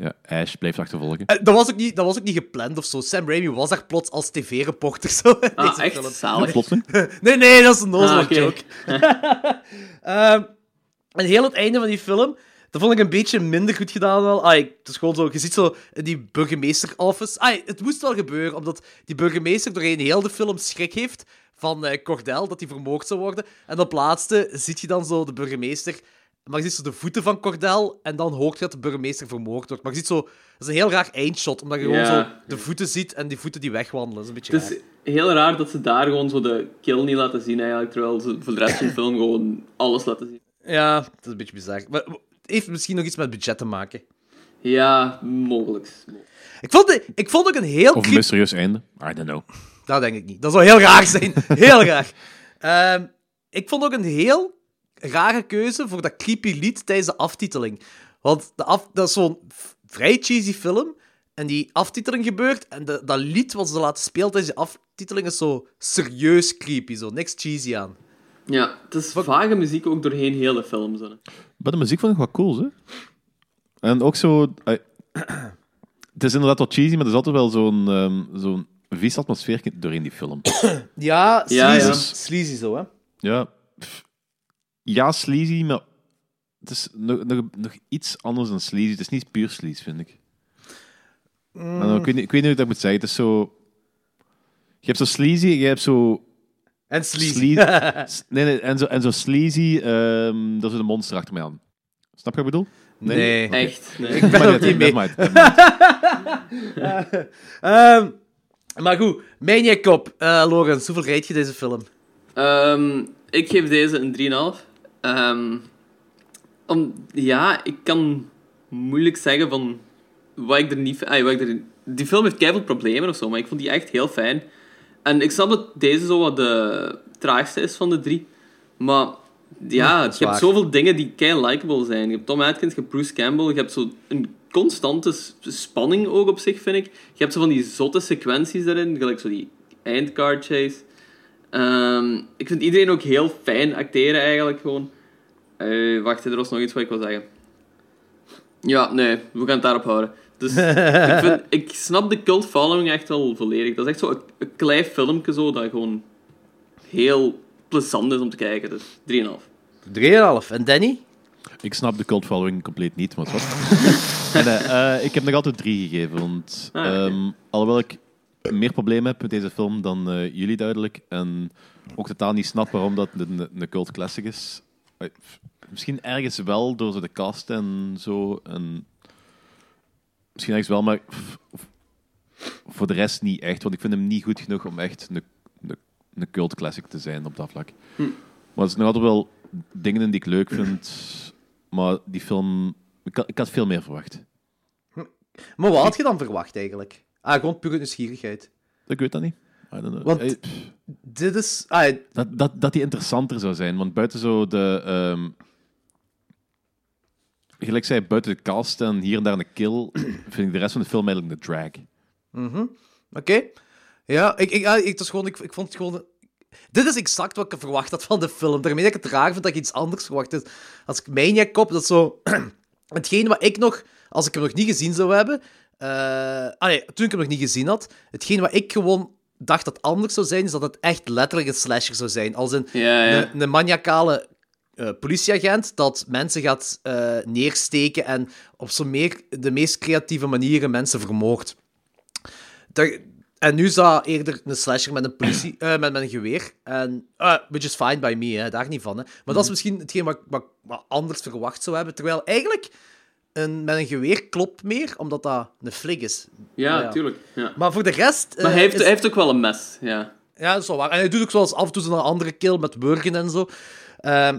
ja, Ash blijft achtervolgen. Eh, dat, was ook niet, dat was ook niet gepland of zo. Sam Raimi was daar plots als tv-reporter. Zo, in Ah, deze echt film. zalig. Plotseling. Nee, nee, dat is een nozel Ah, oké. joke. Ehm, en heel het einde van die film, dat vond ik een beetje minder goed gedaan wel. Ai, het is gewoon zo, je ziet zo in die burgemeester-office... Ai, het moest wel gebeuren, omdat die burgemeester doorheen heel de film schrik heeft van eh, Cordel, dat hij vermoord zou worden. En op laatste ziet je dan zo de burgemeester... Maar je ziet zo de voeten van Cordel en dan hoort je dat de burgemeester vermoord wordt. Maar je ziet zo... Dat is een heel raar eindshot, omdat je gewoon Ja. zo de voeten ziet en die voeten die wegwandelen. Dat is een beetje Het raar. is heel raar dat ze daar gewoon zo de kill niet laten zien eigenlijk, terwijl ze voor de rest van de film gewoon alles laten zien. Ja, dat is een beetje bizar. Maar het heeft misschien nog iets met budget te maken. Ja, mogelijk. Ik vond, de- ik vond ook een heel Of een creep- mysterieus einde. I don't know. Dat denk ik niet. Dat zou heel raar zijn. Heel raar. Ehm, ik vond ook een heel rare keuze voor dat creepy lied tijdens de aftiteling. Want de af, dat is zo'n v- vrij cheesy film. En die aftiteling gebeurt. En de- dat lied wat ze laten spelen tijdens de aftiteling is zo serieus creepy. Zo niks cheesy aan. Ja, het is vage muziek ook doorheen heel de film. Zo. Maar de muziek vond ik wel cool, hè? En ook zo... eh, het is inderdaad wat cheesy, maar er is altijd wel zo'n ehm zo'n vies atmosfeer doorheen die film. Ja, Ja, sleazy, ja. sleazy zo, hè? Ja, pff. ja sleazy, maar het is nog, nog, nog iets anders dan sleazy. Het is niet puur sleazy, vind ik. Mm. I don't know, Ik, weet niet, ik weet niet hoe ik dat moet zeggen. Het is zo... Je hebt zo sleazy, je hebt zo... En sleazy. Slee- s- nee, nee, en zo, en zo sleazy, ehm dat is een monster achter mij aan. Snap je wat ik bedoel? Nee. Oké. Echt. nee. Ik ben Maar ook nee, niet mee. nevermind, nevermind. Ehm, maar goed, Maniacop. Eh Lorenz, hoeveel rijd je deze film? Ehm, ik geef deze een 3,5. Ehm, om, ja, ik kan moeilijk zeggen van wat ik er niet... ah, wat ik er, die film heeft keihard problemen of zo, maar ik vond die echt heel fijn. En ik snap dat deze zo wat de traagste is van de drie. Maar ja, je waar. hebt zoveel dingen die keihard likable zijn. Je hebt Tom Atkins, je hebt Bruce Campbell, je hebt zo een constante s- spanning ook op zich, vind ik. Je hebt zo van die zotte sequenties daarin, gelijk zo die eindcard chase. Ehm, ik vind iedereen ook heel fijn acteren eigenlijk gewoon. Eh, wacht, er was nog iets wat ik wil zeggen. Ja, nee, we gaan het daarop houden. Dus ik, vind, ik snap de cult following echt wel volledig. Dat is echt zo'n een klein filmpje zo dat gewoon heel plezant is om te kijken. Dus 3,5. 3,5. En Danny? Ik snap de cult following compleet niet, maar het was. nee, eh, ik heb nog altijd drie gegeven, want Ah, oké. ehm, alhoewel ik meer problemen heb met deze film dan eh, jullie duidelijk, en ook totaal niet snap waarom dat een, een cult classic is. Eh, pff, Misschien ergens wel door zo de cast en zo. En misschien ergens wel, maar pff, voor de rest niet echt, want ik vind hem niet goed genoeg om echt een, een, een cult classic te zijn op dat vlak. Hm. Maar er zijn nog altijd wel dingen in die ik leuk vind. Maar die film... Ik had, ik had veel meer verwacht. Maar wat had je dan verwacht eigenlijk? Ah, gewoon pure nieuwsgierigheid. Ik weet dat niet. I don't know. Want- Eh, pff, Dit is... Ah, dat, dat, dat die interessanter zou zijn. Want buiten zo de... ehm, gelijk zei, buiten de cast en hier en daar een kill... vind ik de rest van de film eigenlijk de drag. Oké. Ja, ik, ik, ah, ik, het was gewoon, ik, ik vond het gewoon... Dit is exact wat ik verwacht had van de film. Daarmee dat ik het raar vind dat ik iets anders verwacht had. Als ik Maniac kop, dat is zo... hetgeen wat ik nog... Als ik hem nog niet gezien zou hebben... eh, ah nee, toen ik hem nog niet gezien had... Hetgeen wat ik gewoon dacht dat anders zou zijn, is dat het echt letterlijk een slasher zou zijn. Als een, Ja, ja. een, een maniacale eh, politieagent dat mensen gaat eh, neersteken en op zo meer, de meest creatieve manieren mensen vermoordt. Daar- en nu is dat eerder een slasher met een, politie, eh, met, met een geweer. En, eh, which is fine by me, hè, daar niet van. Hè. Maar dat Mhm. is misschien hetgeen wat, ik- wat, ik- wat anders verwacht zou hebben. Terwijl eigenlijk een, met een geweer klopt meer, omdat dat een flik is. Ja, Ah, ja. tuurlijk. Ja. Maar voor de rest... eh, Maar hij heeft, is- hij heeft ook wel een mes. Ja. Ja, dat is wel waar. En hij doet ook zoals af en toe een andere kill met burgen en zo. Ehm,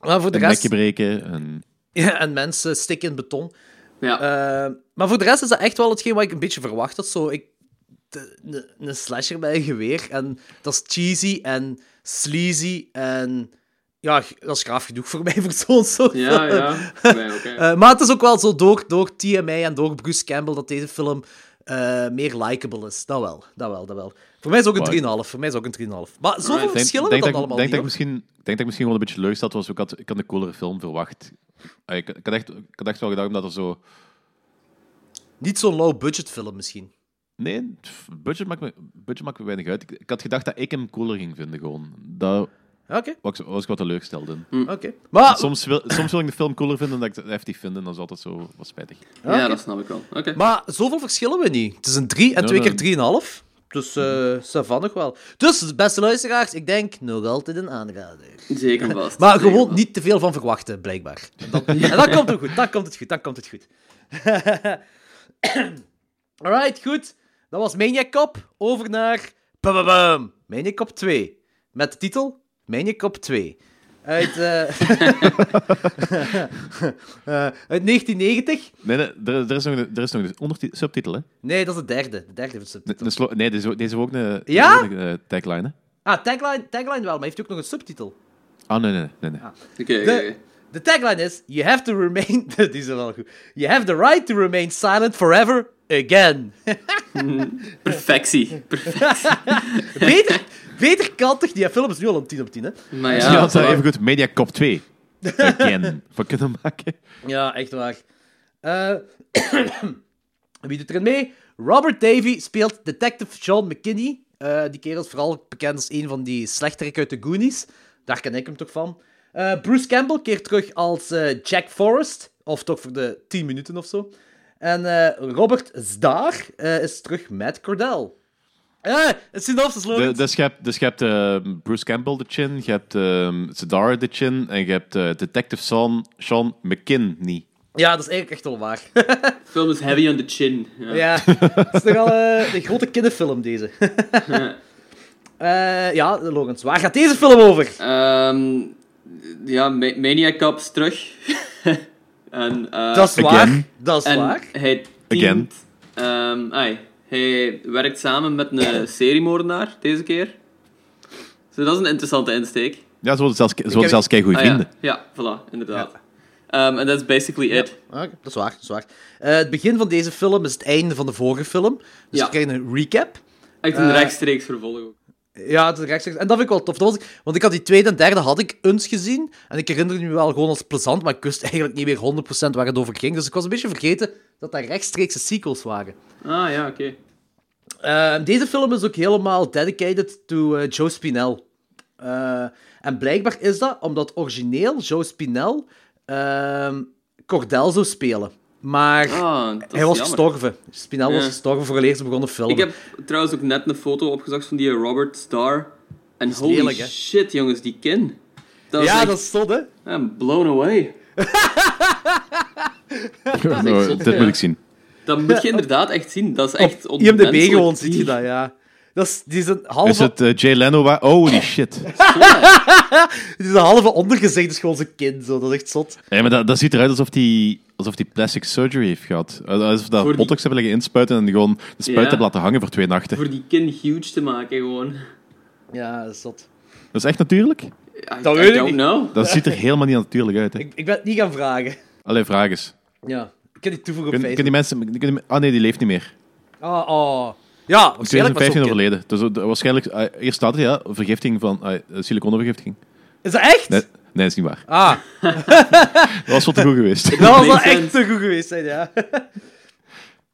maar voor de Een nekje rest... breken en... Ja, en mensen stikken in beton. Ja. Ehm, maar voor de rest is dat echt wel hetgeen wat ik een beetje verwacht had. Zo, ik, de- ne- een slasher bij een geweer. En dat is cheesy en sleazy. En ja, g- dat is graaf genoeg voor mij voor zo'n soort film. ja, ja. Oké, oké. Eh, maar het is ook wel zo door, door TMI en door Bruce Campbell dat deze film eh, meer likable is. Dat wel, dat wel, dat wel. Voor mij is ook Maar- een 3,5. Voor mij is ook een 3,5. Maar zoveel Alright. verschillen dat denk dat ik- allemaal denk dat ik niet, misschien, ik denk dat ik misschien wel een beetje teleurgesteld was. Ik had, ik had een coolere film verwacht. Ah, Ik, ik, had echt, ik had echt wel gedacht omdat er zo... hoor. Niet zo'n low-budget film misschien. Nee, pff, budget maakt, me, budget maakt me weinig uit. Ik, ik had gedacht dat ik hem cooler ging vinden, gewoon. Dat Oké, was, was ik wat teleurgesteld in. Hmm. Ah. oké. Maar Mm. Soms, wil, soms wil ik de film cooler vinden dan ik het heftig vind, en dat is altijd zo wat spijtig. oké. Ja, dat snap ik wel. Oké. Maar zoveel verschillen we niet. Het is een 3 en Ja, twee dan- keer 3,5. Dus eh ça va nog wel. Dus, beste luisteraars, ik denk nog altijd een aanrader. Zeker en vast. Maar Zeker en gewoon vast. niet te veel van verwachten, blijkbaar. En dan, en dan komt het goed, dan komt het goed, dan komt het goed. Alright, goed. Dat was Maniac Cop. Over naar... Bam, bam, bam. Maniac Cop 2. Met de titel Maniac Cop 2. Uit, eh, eh, uit 1990. Nee, nee er, er is nog een, er is nog een onderti- subtitel, hè? Nee, dat is de derde. De derde van de subtitel. Een- een slo- nee, deze, deze ook een, Ja? ook een, eh, tagline, hè? Ah, tagline, tagline wel, maar heeft ook nog een subtitel. Ah, nee, nee, nee. nee. Oké, oké, De, oké. de tagline is: You have to remain. Die is wel goed. You have the right to remain silent forever again. Perfectie. Per- beter, beter kan toch? Die film is nu al een 10 op 10, hè? Maar Ja, ja, had daar even goed Media Cop 2 again van kunnen maken. Ja, echt waar. Eh, wie doet er mee? Robert Davy speelt Detective John McKinney. Eh, die kerel is vooral bekend als een van die slechterik uit de Goonies. Daar ken ik hem toch van. Eh, Bruce Campbell keert terug als eh, Jack Forrest. Of toch voor de 10 minuten of zo. En eh, Robert Zdaar eh, is terug met Cordell. Eh, het synopsis, De, Lorenz. dus je hebt, dus je hebt eh, Bruce Campbell de chin, je hebt ehm Sadara de chin, en je hebt eh, Detective Sean, Sean McKinney. Ja, dat is eigenlijk echt wel waar. de film is heavy on the chin. Ja. Ja, het is nogal eh, een grote kinderfilm, deze. Eh, ja, Logans, waar gaat deze film over? Ehm, ja, Ma- Maniac Cops terug. en, eh, dat is waar. again. Dat is en waar. hij Again. Ehm, ai, hij werkt samen met een seriemoordenaar deze keer. Dus dat is een interessante insteek. Ja, ze worden zelfs, ze worden heb- zelfs kei goede Ah, vrienden. ja. ja, voilà, inderdaad. Ehm, En dat is basically it. Ah, Oké, dat is waar, dat is waar. Eh, het begin van deze film is het einde van de vorige film. Dus Ja. we krijgen een recap. Echt een Eh, rechtstreeks vervolg ook. Ja, het is rechtstreeks. En dat vind ik wel tof. Dat was ik, want ik had die tweede en derde had ik eens gezien. En ik herinner het me wel gewoon als plezant, maar ik wist eigenlijk niet meer 100% waar het over ging. Dus ik was een beetje vergeten dat dat rechtstreekse sequels waren. Ah ja, oké. Ehm, deze film is ook helemaal dedicated to eh, Joe Spinell. Eh, en blijkbaar is dat omdat origineel Joe Spinell ehm, Cordel zou spelen. Maar Ah, hij was dat is jammer. gestorven. Spinell was Ja. gestorven voor eerst begonnen filmen. Ik heb trouwens ook net een foto opgezocht van die Robert Starr. En holy lelijk, hè? shit, jongens, die kin. Dat was Ja, echt- dat stond, hè? I'm blown away. Nou, dit moet ik zien. Dat moet je inderdaad echt zien. Dat is echt Op IMDb onmenselijk. gewoon ziet je dat, ja. Dat is, die is een halve, Is het eh, Jay Leno waar? Holy shit. die is een halve ondergezicht, is gewoon zijn kind. Zo. Dat is echt zot. Ja, maar dat, dat ziet eruit alsof die, alsof die plastic surgery heeft gehad. Alsof dat Voor die- botox hebben liggen inspuiten en gewoon de spuit Ja. hebben laten hangen voor twee nachten. Voor die kin huge te maken, gewoon. Ja, dat is zot. Dat is echt natuurlijk? I, Dat I weet ik don't niet. know. Dat ziet er helemaal niet natuurlijk uit. Hè. Ik, ik ben het niet gaan vragen. Allee, vraag eens. Ja, ik kan die toevoegen op Kun, kunnen Facebook. die mensen... kunnen die- ah nee, die leeft niet meer. Oh, oh. Ja, In waarschijnlijk was zo'n 2015 kind. overleden. Dus eh, waarschijnlijk... eh, hier staat het, ja. Vergifting van... eh, siliconenvergifting. Is dat echt? Nee, nee, is niet waar. Ah, Dat was wel te goed geweest. dat was wel Makes echt sense. te goed geweest, zijn, ja.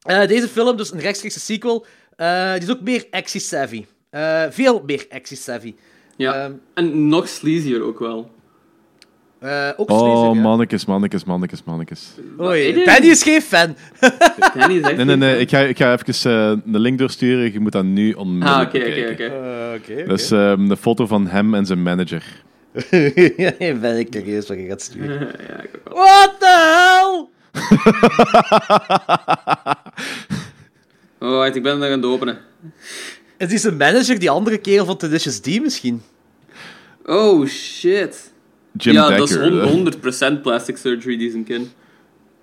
Eh, deze film, dus een rechtstreekse sequel, eh, die is ook meer actie-savvy. Eh, veel meer actie-savvy. Ja. Ehm, En nog sleazier ook wel. eh, ook sleazy, Oh, ja. mannetjes, mannetjes, mannetjes, mannetjes. Oei, Wat? Teddy is geen fan. Danny is echt Nee, nee, nee. Ik niet- ga, ik ga even eh, een link doorsturen. Je moet dat nu onmiddellijk Ah, oké, bekijken. oké, Eh, oké. Oké, Dat is ehm, de foto van hem en zijn manager. ben ik curieus wat je gaat sturen. Ja, ik ook wel. What the hell? Alright, Oh, ik ben hem aan het openen. Is die zijn manager die andere kerel van Tenacious D misschien? Oh, shit. Jim ja, Dekker. dat is eh. 100% plastic surgery die zijn kin.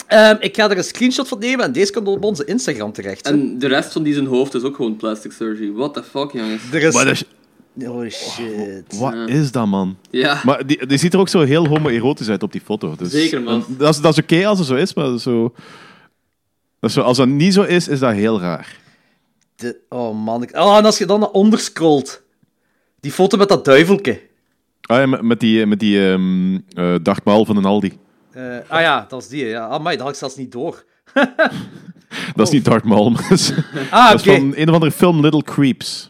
Ehm, ik ga er een screenshot van nemen en deze komt op onze Instagram terecht. hè. En de rest van die zijn hoofd is ook gewoon plastic surgery. What the fuck, jongens. er is... Maar dat is- Oh shit. wat is dat, man? Ja, Maar die, die ziet er ook zo heel homoerotisch uit op die foto. Dus, Zeker, man. en Dat is, dat is oké als het zo is, maar dat is zo, dat is zo, als dat niet zo is, is dat heel raar. De- oh man. Ik... Oh, en als je dan naar onder scrolt. Die foto met dat duivelke. Ah, ja, met, met die, met die ehm eh, dartmaal van een Aldi. Eh, ah ja, dat was die. Ja. Amai, dat had ik zelfs niet door. Dat is Oh. niet dartmaal, maar dat is, Ah, dat oké. is van een of andere film Little Creeps.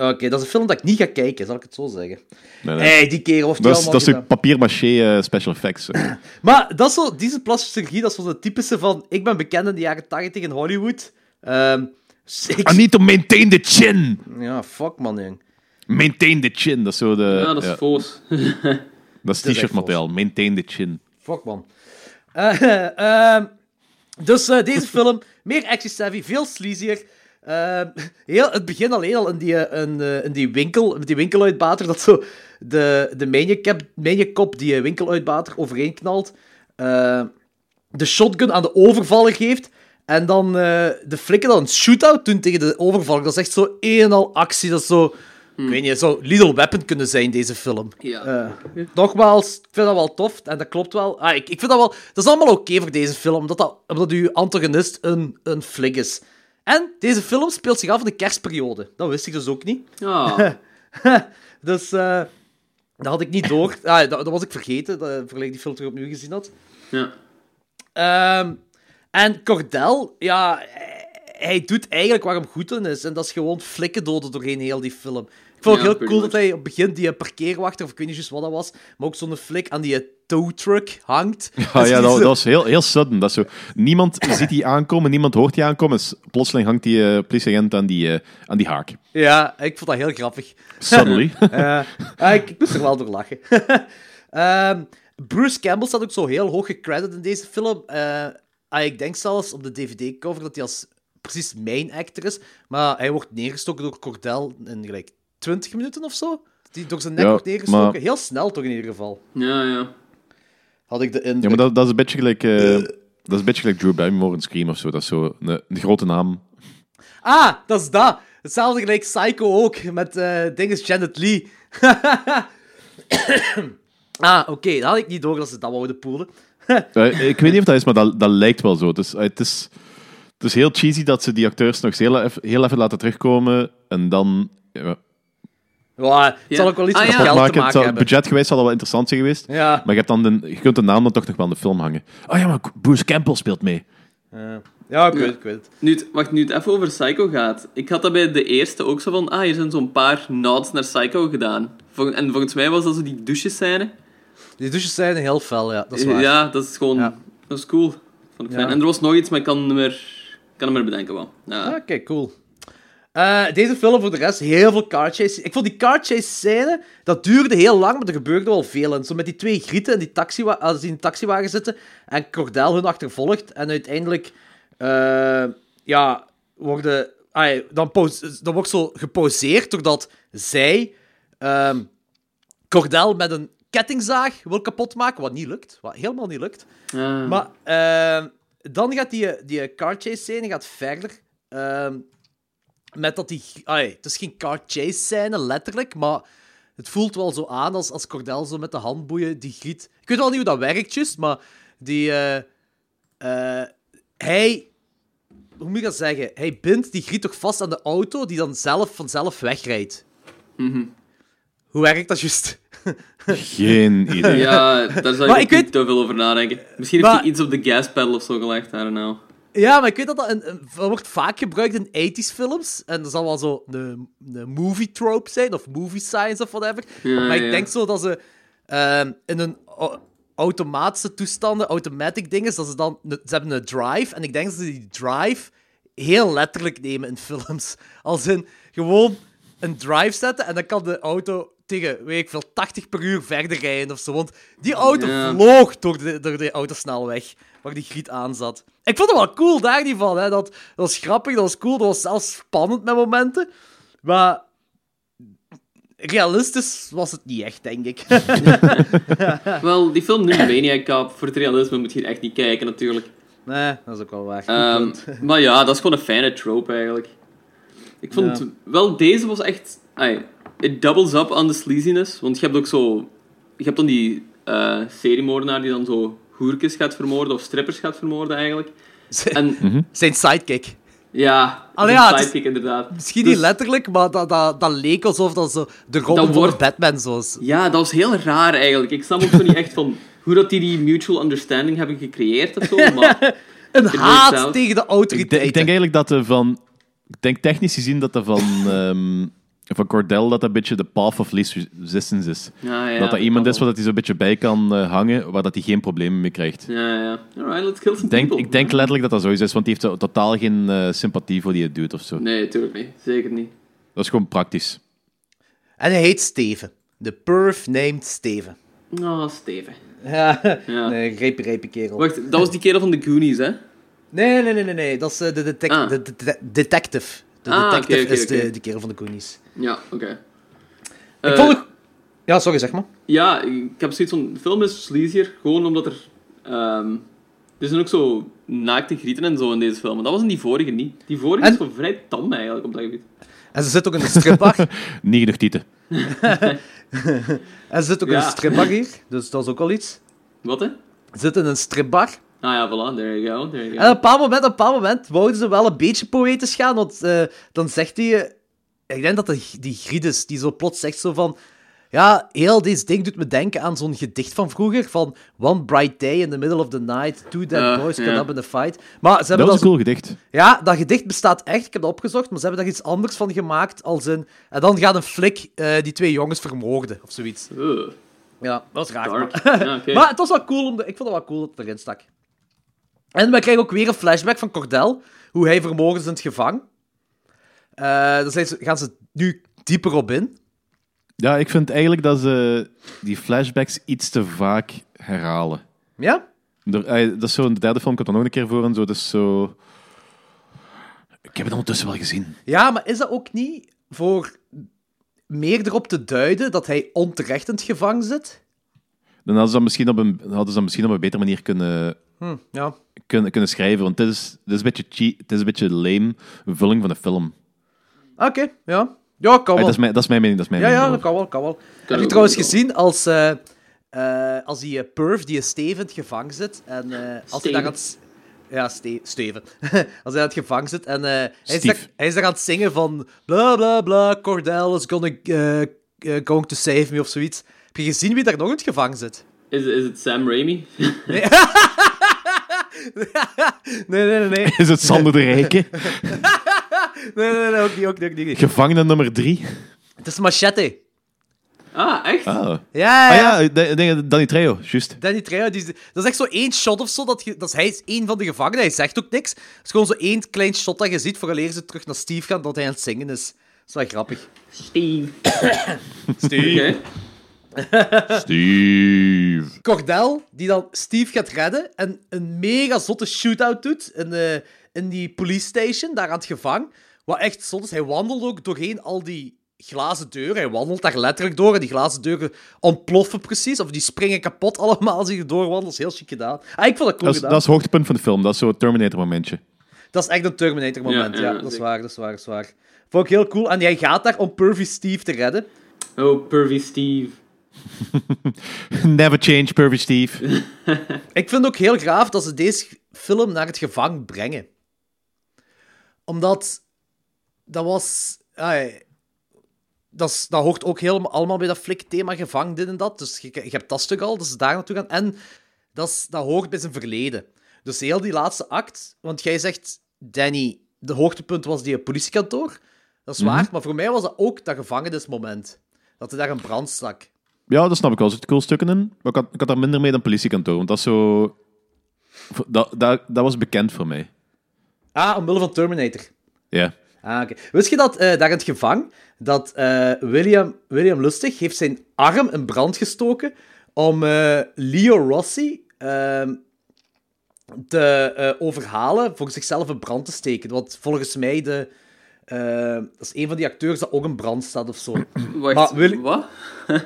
Oké, dat is een film dat ik niet ga kijken, zal ik het zo zeggen. Nee, nee. Hé, hey, die kerel heeft wel dat is, allemaal dat is gedaan. een papier-maché eh, special effects. eh. Maar dat is zo, deze plastic chirurgie, dat is wel de typische van... Ik ben bekend in de jaren 80 in Hollywood. Ehm, dus ik- I need to maintain the chin! Ja, fuck man, jong. Maintain the chin, dat is zo de... ja dat is eh, ja, foos. dat is echt t-shirt model, maintain the chin. Fuck man. Eh, ehm, dus eh, deze film, meer actie-savvy, veel sleazier. Ehm, heel, het begin alleen al in die, eh, in, eh, in die winkel, met die winkeluitbater, dat zo de, de maniac- maniacop die eh, winkeluitbater overeen knalt, eh, de shotgun aan de overvaller geeft, en dan eh, de flikken dan een shootout doen tegen de overvaller. Dat is echt zo een en al actie, dat is zo... Ik weet niet, zo Little Weapon kunnen zijn, deze film. Ja. Eh, nogmaals, ik vind dat wel tof en dat klopt wel. Ah, ik, ik vind dat wel... Dat is allemaal oké voor deze film, omdat, dat, omdat uw antagonist een, een flik is. En deze film speelt zich af in de kerstperiode. Dat wist ik dus ook niet. Ah, Dus eh, dat had ik niet door. Ah, dat, dat was ik vergeten, dat, voordat ik die film terug opnieuw gezien had. ja. Ehm, en Cordel, ja, hij doet eigenlijk waar hem goed in is. En dat is gewoon flikken doden doorheen heel die film. Ik vond het Ja, heel pretty cool much. dat hij op het begin die eh, parkeerwachter, of ik weet niet juist wat dat was, maar ook zo'n flik aan die eh, tow truck hangt. Dus Ah, ja, dat, is dat is heel, heel sudden. Dat is zo. Niemand ziet die aankomen, niemand hoort die aankomen. Dus plotseling hangt die eh, politieagent aan die, eh, aan die haak. Ja, ik vond dat heel grappig. Suddenly. Eh, ah, ik, ik moest er wel door lachen. Ehm, Bruce Campbell staat ook zo heel hoog gecredit in deze film. Eh, ah, ik denk zelfs op de DVD-cover dat hij als precies mijn actor is. Maar hij wordt neergestoken door Cordel in gelijk 20 minuten of zo. Die door zijn nek Ja, wordt neergestoken. maar- Heel snel toch in ieder geval. Ja, ja. Had ik de ja, indruk. maar dat, dat is een beetje gelijk eh, Dat is een beetje gelijk Drew Barrymore in Scream of zo. Dat is zo een, een grote naam. Ah, dat is dat. Hetzelfde gelijk Psycho ook, met eh dinges Janet Lee. ah, oké, dat had ik niet door dat ze dat wouden poelen. Eh, ik weet niet of dat is, maar dat, dat lijkt wel zo. Dus, eh, het, is, het is heel cheesy dat ze die acteurs nog eens heel, eff- heel even laten terugkomen en dan... ja, Ja, het Ja. zal ook wel iets Ah, met ja. geld maken. te Het maken zal- hebben. budget geweest zal dat wel interessant zijn geweest. Ja. Maar je, hebt dan de, je kunt de naam dan toch nog wel in de film hangen. Oh ja, maar Bruce Campbell speelt mee. Ja. Ja, ik weet het, ik weet het. Nu, het- wacht, nu het even over Psycho gaat. Ik had dat bij de eerste ook zo van... Ah, hier zijn zo'n paar nods naar Psycho gedaan. Vol- en volgens mij was dat zo die douchescène. Die douches zijn heel fel, ja, dat is waar. Ja, dat is gewoon... Ja. Dat is cool. Vond ik fijn. Ja. En er was nog iets, maar ik kan het niet meer, ik kan het niet meer bedenken wel. Ah, Ja. Oké, cool. Eh, deze film voor de rest heel veel car chase. Ik vond die car chase scène, dat duurde heel lang, maar er gebeurde wel veel in. Zo met die twee grieten in die, taxiwa als die in de taxiwagen zitten en Cordel hun achtervolgt. En uiteindelijk, eh, ja, worden, ai, dan, pose- dan wordt zo geposeerd doordat zij ehm, Cordel met een kettingzaag wil kapotmaken, wat niet lukt, wat helemaal niet lukt. Ja. Maar ehm, dan gaat die, die car chase scène gaat verder. ehm, met dat die. ai, het is geen car chase scène, letterlijk. Maar het voelt wel zo aan als, als Cordel zo met de handboeien die griet. Ik weet wel niet hoe dat werkt, juist, maar die. eh, eh, hij. Hoe moet ik dat zeggen? Hij bindt die griet toch vast aan de auto die dan zelf vanzelf wegrijdt. Hoe werkt dat juist? Geen idee. Ja, daar zou Maar je ik ik weet- niet te veel over nadenken. Misschien heeft Maar- hij iets op de gaspedal of zo gelegd, I don't know. Ja, maar ik weet dat dat, een, een- dat wordt vaak gebruikt in 80s films. En dat zal wel zo een, een movie trope zijn, of movie science of whatever. Ja, maar ik ja. denk zo dat ze ehm, in een au- automatische toestanden, automatic dingen, dat ze dan... Ze hebben een drive, en ik denk dat ze die drive heel letterlijk nemen in films. Als in, gewoon een drive zetten, en dan kan de auto tegen, weet ik veel, 80 per uur verder rijden of zo. Want die auto Ja. vloog door de, door de autosnelweg waar die griet aan zat. Ik vond het wel cool, daar niet van. Hè. Dat, dat was grappig, dat was cool, dat was zelfs spannend met momenten. Maar realistisch was het niet echt, denk ik. Wel, die film nu Maniac Cop, voor het realisme moet je hier echt niet kijken natuurlijk. nee, dat is ook wel waar. Ehm, maar ja, dat is gewoon een fijne trope eigenlijk. Ik vond, wel, deze was echt... ai, it doubles up on the sleaziness, want je hebt ook zo... Je hebt dan die eh seriemoordenaar die dan zo hoerkes gaat vermoorden, of strippers gaat vermoorden eigenlijk. En Mhm. Zijn sidekick. ja, Allee, die ja, het is- sidekick inderdaad. Misschien Dus- niet letterlijk, maar dat, dat, dat leek alsof dat zo de Robin van wordt- Batman zo is. Ja, dat was heel raar eigenlijk. Ik snap ook zo niet echt van hoe dat die die mutual understanding hebben gecreëerd of zo. Maar Een works haat tegen out. de Ik, denk- autoriteiten. ik denk eigenlijk dat er van... Ik denk technisch gezien dat dat van... ehm, van Cordell dat dat een beetje de path of least resistance is. Ah, ja, ja, dat dat dat iemand kan is wel. waar dat hij zo'n beetje bij kan eh, hangen, waar dat hij geen problemen mee krijgt. ja, ja. Alright, let's kill some Ik denk, people. ik denk letterlijk dat dat zo is, want die heeft totaal geen eh, sympathie voor die het doet of zo. Nee, natuurlijk niet. Zeker niet. Dat is gewoon praktisch. En hij heet Steven. De perf named Steven. Oh, Steven. Ja, Ja. nee, reepie, reepie kerel. Wacht, dat was die kerel van de Goonies, hè? Nee, nee, nee, nee, nee. Dat is eh, de, detec- Ah. de, de- de- detective. De Ah, detective oké, oké, is de, oké. de kerel van de Goonies. Ja, oké. ik Eh, vond het... Ja, sorry, zeg maar. Ja, ik heb zoiets van... De film is sleazier, gewoon omdat er... ehm, er zijn ook zo naakte grieten en zo in deze film. En dat was in die vorige niet. Die vorige En- is wel vrij tam eigenlijk op dat gebied. En ze zit ook in de stripbar. Niet genoeg tieten. en ze zit ook in Ja. een stripbar hier. Dus dat is ook al iets. Wat, hè? Ze zit in een stripbar. Ah ja, voilà, there you go, there you go. En op een bepaald moment, op een bepaald moment wouden ze wel een beetje poëtisch gaan, want eh, dan zegt hij... eh, ik denk dat de, die Grides, die zo plots zegt zo van... Ja, heel deze ding doet me denken aan zo'n gedicht van vroeger, van... One bright day in the middle of the night, two dead Eh, boys ja. caught up in a fight. Maar ze hebben Dat dat was een zo- cool gedicht. Ja, dat gedicht bestaat echt. Ik heb dat opgezocht, maar ze hebben daar iets anders van gemaakt. Als een... En dan gaat een flik eh, die twee jongens vermoorden, of zoiets. Ugh, Ja, dat is raar. dark. Maar... Ja, oké. maar het was wel cool, om de... ik vond het wel cool dat het erin stak. En we krijgen ook weer een flashback van Cordel, hoe hij vermogen is in het gevang. Eh daar zijn ze- gaan ze nu dieper op in. Ja, ik vind eigenlijk dat ze die flashbacks iets te vaak herhalen. Ja? Er- eh, dat is zo, in de derde film komt er nog een keer voor en zo. Dus zo... Ik heb het ondertussen wel gezien. Ja, maar is dat ook niet voor meer erop te duiden dat hij onterecht in het gevangen zit? Dan hadden ze dat misschien op een, hadden ze dat misschien op een betere manier kunnen Ja. kunnen, kunnen schrijven. Want dit is, dit is een beetje cheat, het is een beetje lame vulling van de film. Oké, ja. Ja, kan Ah, dat, Oh, wel. is mijn, dat is mijn mening. Dat is Ja, mijn ja, mening dat kan wel, kan wel. Heb je ook trouwens wel. gezien als, eh, eh, als die eh, Perf, die Steven, het gevangen zit. En eh, als hij daar aan het... s- Ja, Ste- Steven. als hij aan het gevangen zit en eh, hij, is daar, Steve. hij is daar aan het zingen van... Bla, bla, bla, Cordell is gonna, eh, eh, going to save me of zoiets. Heb je gezien wie daar nog in het gevangen zit? Is, is het Sam Raimi? Nee, nee, nee. Nee, Is het Sander de Rijke? nee, nee, nee ook niet, ook niet, ook niet. Gevangene nummer drie? Het is Machete. Ah, echt? Ah, ah Ja, ja. ja, ik denk- ik denk dat Danny Trejo, juist. Danny Trejo, die, is- dat is echt zo één shot of zo. Dat, je- dat is, hij is één van de gevangenen, hij zegt ook niks. Het is gewoon zo één klein shot dat je ziet, vooraleer ze terug naar Steve gaan, dat hij aan het zingen is. Dat is wel grappig. Steve. Steve. Oké. Steve. Cordell, die dan Steve gaat redden en een mega zotte shootout doet in, eh, in die police station, daar aan het gevang. Wat echt zot is, hij wandelt ook doorheen al die glazen deuren. Hij wandelt daar letterlijk door en die glazen deuren ontploffen precies. Of die springen kapot allemaal als hij erdoor wandelt. Dat is heel chic gedaan. Ah, ik vond dat cool Dat is, gedaan. dat is het hoogtepunt van de film. Dat is zo'n Terminator-momentje. Dat is echt een Terminator-moment, ja. Ja, ja, dat is zeker. waar, dat is waar, dat is waar. Vond ik heel cool. En jij gaat daar om Pervy Steve te redden. Oh, pervy Steve. Never change, Pervy Steve. Ik vind het ook heel graaf dat ze deze film naar het gevang brengen. Omdat... Dat was... ah, ja, dat, is- dat hoort ook helemaal allemaal bij dat flik thema gevang, dit en dat. Dus je, je hebt dat stuk al, dus daar naartoe gaan. En dat, is, dat hoort bij zijn verleden. Dus heel die laatste act... Want jij zegt, Danny, de hoogtepunt was die politiekantoor. Dat is waar, maar voor mij was dat ook dat gevangenismoment. Dat hij daar een brand stak. Ja, dat snap ik wel. Er zitten cool stukken in. Maar ik had, ik had daar minder mee dan politiekantoor. Want dat is zo... Dat, dat, dat was bekend voor mij. Ah, omwille van Terminator. Ja. Ah, oké. Wist je dat eh, daar in het gevang, dat eh, William, William Lustig heeft zijn arm in brand gestoken om eh, Leo Rossi ehm, te eh, overhalen voor zichzelf in brand te steken. Want volgens mij de, eh, dat is een van die acteurs dat ook in brand staat of zo. Wacht, Maar wil- wat?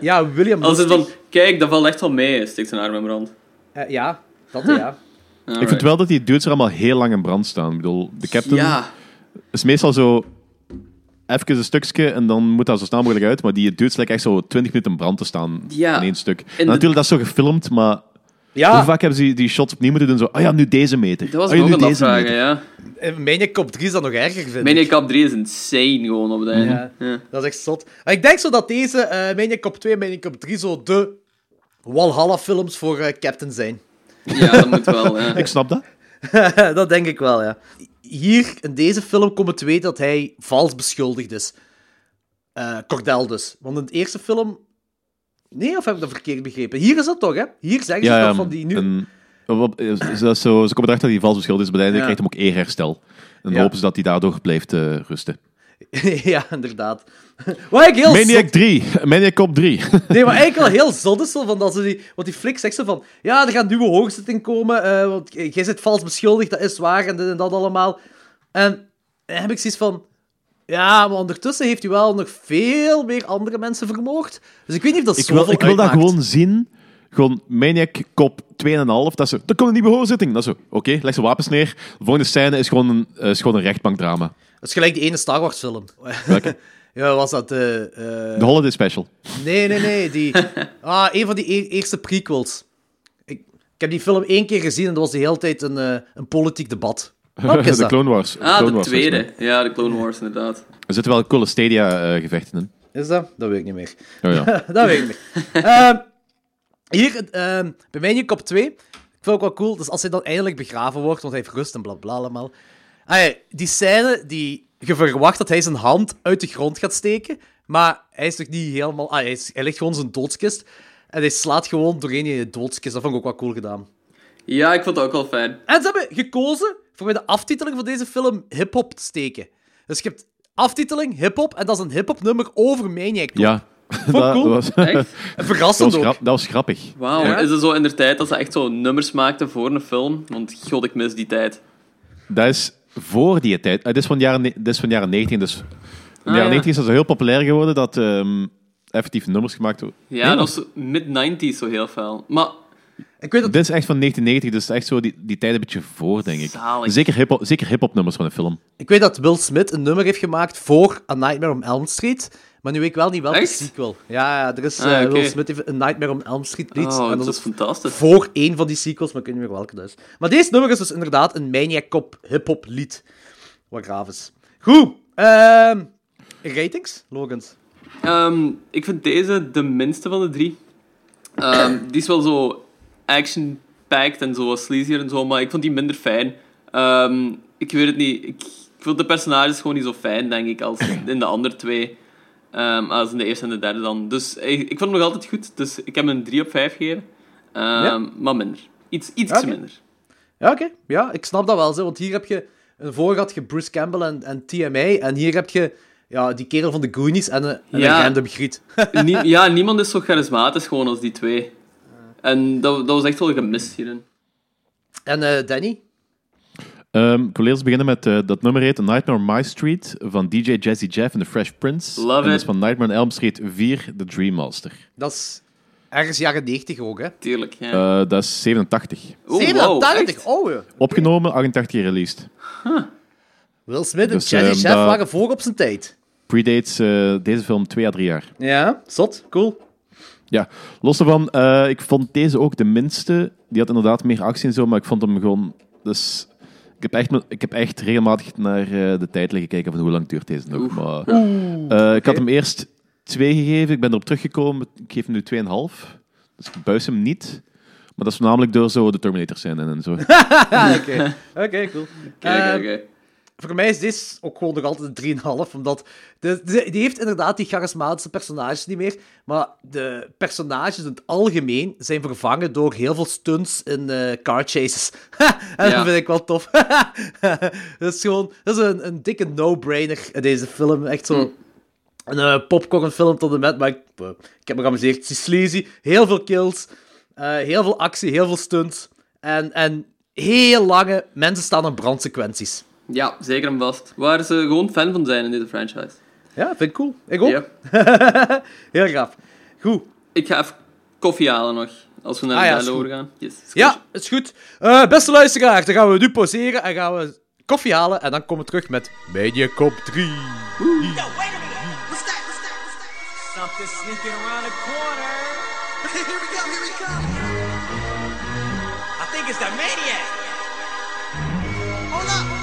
ja, William Als Lustig. het van, kijk, dat valt echt wel mee, steekt zijn arm in brand. Eh, ja, dat ja. Ik vind wel dat die dudes er allemaal heel lang in brand staan. Ik bedoel, de captain Ja, is meestal zo... Even een stukje en dan moet dat zo snel mogelijk uit. Maar die dudes lijken echt zo 20 minuten in brand te staan Ja. in één stuk. En de- natuurlijk, dat is zo gefilmd, maar... Hoe Ja, vaak hebben ze die, die shots opnieuw moeten doen? Zo, ah ja, nu deze meter. dat was ah, ja, ik ook nu aan het deze afvragen, meter. ja. eh, Maniac Cop 3 is dat nog erger, vind ik. Mijn kap 3 is insane gewoon op het einde. Ja, Ja. dat is echt zot. Maar ik denk zo dat deze eh Maniac Cop 2 en Maniac Cop 3 zo de Walhalla-films voor eh, Captain zijn. Ja, dat moet wel, ja. Ik snap dat. dat denk ik wel, ja. Hier, in deze film, komen te weten dat hij vals beschuldigd is. Eh, Cordel dus. Want in de eerste film... Nee, of heb ik dat verkeerd begrepen? Hier is dat toch, hè? Hier zeggen ze Ja, toch ja, van die... Nu... en- wat- is- is dat zo, ze komen erachter dat hij vals beschuldigd is, maar uiteindelijk Ja. krijgt hem ook eerherstel. En dan Ja. hopen ze dat hij daardoor blijft eh, rusten. ja, inderdaad. Wat ik heel zot Maniac 3, Maniac Cop 3. Nee, maar eigenlijk wel heel zot is wel van dat ze die... Want die flik zegt zo van... Ja, er gaat nieuwe hoorzitting komen, eh, want eh, jij zit vals beschuldigd, dat is waar, en dit en dat allemaal. En dan heb ik zoiets van... Ja, maar ondertussen heeft hij wel nog veel meer andere mensen vermoord. Dus ik weet niet of dat ik zoveel wil, ik wil dat uitmaakt. gewoon zien. Gewoon Maniac Cop 2,5. Dat is zo, er komt een nieuwe hoorzitting. Dat is zo, oké, leg zijn wapens neer. De volgende scène is gewoon een, eh, is gewoon een rechtbankdrama. Dat is gelijk die ene Star Wars film. Welke? ja, was dat... eh, eh, De Holiday Special. Nee, nee, nee. Die... Ah, een van die e- eerste prequels. Ik, ik heb die film één keer gezien en dat was de hele tijd een, eh, een politiek debat. Welke is de dat? Clone Wars. Clone Ah, de Wars, volgens mij. tweede. Ja, de Clone Wars, inderdaad. Er zitten wel coole Stadia-gevechten in. Is dat? Dat weet ik niet meer. Oh, ja. dat weet ik niet. Ehm, hier, ehm, bij mij nu kop 2. Ik vond het ook wel cool. Dus als hij dan eindelijk begraven wordt, want hij heeft rust en blablabla allemaal. Ah ja, die scène die je verwacht dat hij zijn hand uit de grond gaat steken. Maar hij is nog niet helemaal. Ah, hij, is, hij ligt gewoon zijn doodskist. En hij slaat gewoon doorheen je doodskist. Dat vond ik ook wel cool gedaan. Ja, ik vond dat ook wel fijn. En ze hebben gekozen voor bij de aftiteling van deze film hip-hop te steken. Dus je hebt aftiteling hip-hop en dat is een hip-hop nummer over Maniac. ja. dat, cool. was, dat, Echt? Verrassend was ook. grap- dat was grappig. Wauw, Ja. is het zo in de tijd dat ze echt zo nummers maakten voor een film? Want god, ik mis die tijd. Dat is voor die tijd. Eh, dit, is van jaren, ne- dit is van jaren 19. Dus in de jaren Ah, ja. 19 is dat zo heel populair geworden dat ehm effectief nummers gemaakt worden. Ja, dat was mid-90s zo heel fel. Maar Ik weet dat... Dit is echt van 1990, dus echt zo die, die tijd een beetje voor, denk ik. Zalig. Zeker hip-hop zeker hip-hop nummers van de film. Ik weet dat Will Smith een nummer heeft gemaakt voor A Nightmare on Elm Street, maar nu weet ik wel niet welke Echt? sequel. Ja, ja, er is Ah, eh, oké. Will Smith heeft een Nightmare on Elm Street lied, Oh, en dat Ah, dat is is fantastisch. voor één van die sequels, maar ik weet niet meer welke dat is. Maar deze nummer is dus inderdaad een maniac cop hip-hop lied. Wat graaf is. Goed, ehm, ratings, Logans? Ehm, ik vind deze de minste van de drie. Ehm, die is wel zo action-packed en zo wat sleazier en zo, maar ik vond die minder fijn. Ehm, ik weet het niet. Ik, ik vond de personages gewoon niet zo fijn, denk ik, als in de andere twee. Ehm, als in de eerste en de derde dan. Dus ik, ik vond hem nog altijd goed, dus ik heb hem een 3 op 5 gegeven. Ehm, Maar minder. Iets, iets Oké. minder. Ja, oké. Ja, ik snap dat wel. Zo, want hier heb je... Een voor had je Bruce Campbell en, en TMA, en hier heb je ja, die kerel van de Goonies en een, en Ja. een random griet. Nie- ja, niemand is zo charismatisch gewoon als die twee. En dat, dat was echt wel een gemis hierin. en eh, Danny? Ehm ik wil eerst beginnen met eh, dat nummer heet A Nightmare on My Street van DJ Jazzy Jeff en The Fresh Prince. Love en dat it. is van Nightmare on Elm Street 4, The Dream Master. Dat is ergens jaren 90 ook, hè? Tuurlijk, ja. Eh, dat is 87. Oh, wow, 87, echt? oh, ja. Opgenomen, 88 gereleased. Will Smith en Dus, Jazzy ehm, Chef dat- waren voor op zijn tijd. Predates eh, deze film 2 à 3 jaar. Ja, zot, cool. Ja, los daarvan, eh, ik vond deze ook de minste. Die had inderdaad meer actie en zo, maar ik vond hem gewoon... Dus ik heb echt, me- ik heb echt regelmatig naar eh, de tijd liggen kijken van hoe lang duurt deze nog. Maar, eh, ik had hem eerst 2 gegeven, ik ben erop teruggekomen. Ik geef hem nu 2,5. Dus ik buis hem niet. Maar dat is voornamelijk door zo de Terminator zijn en zo. Ah, oké. Oké, cool. Kijk, Ehm, kijk, kijk. Voor mij is dit ook gewoon nog altijd een 3,5, omdat... De, de- die heeft inderdaad die charismatische personages niet meer, maar de personages in het algemeen zijn vervangen door heel veel stunts in eh, car chases. en Ja. dat vind ik wel tof. dat is gewoon... Dat is een, een dikke no-brainer, deze film. Echt zo... Een eh, popcornfilm tot en met, maar ik, eh, ik heb me geamuseerd. Het is sleazy, heel veel kills, eh, heel veel actie, heel veel stunts. En, en heel lange mensen staan aan brandsequenties. Ja, zeker en vast. Waar ze gewoon fan van zijn in deze franchise. Ja, vind ik cool. Ik ook. Ja. Heel gaaf. Goed. Ik ga even koffie halen nog. Als we naar Ah ja, de is derde goed. overgaan. Yes, is goed. Ja, is goed. Eh, beste luisteraar, dan gaan we nu pauzeren en gaan we koffie halen. En dan komen we terug met Media Cop 3. Yo, wait a minute. What's that? What's that? What's that? Something sneaking around the corner. What's that? Here we go. Here we go. I think it's the maniac. Hold up. Hold up.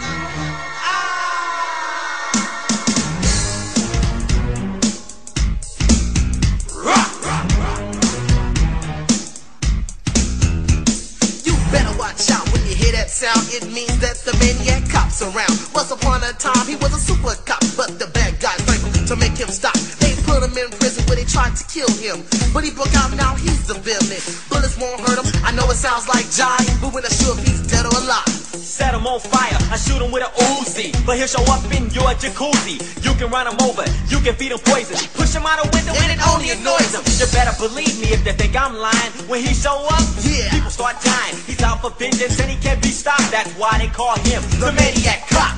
You better watch out when you hear that sound. It means that the maniac cops around. Once upon a time, he was a super cop, but the bad guys able to make him stop. They put him in prison where they tried to kill him, but he broke out. Now he's the villain. Bullets won't hurt him. I know it sounds like jive, but we're not sure if he's dead or alive. Set him on fire. I shoot him with a Uzi. But he'll show up in your jacuzzi. You can run him over. You can feed him poison. Push him out a window and it only annoys him. You better believe me if they think I'm lying. When he show up, Yeah. people start dying. He's out for vengeance and he can't be stopped. That's why they call him the maniac cop.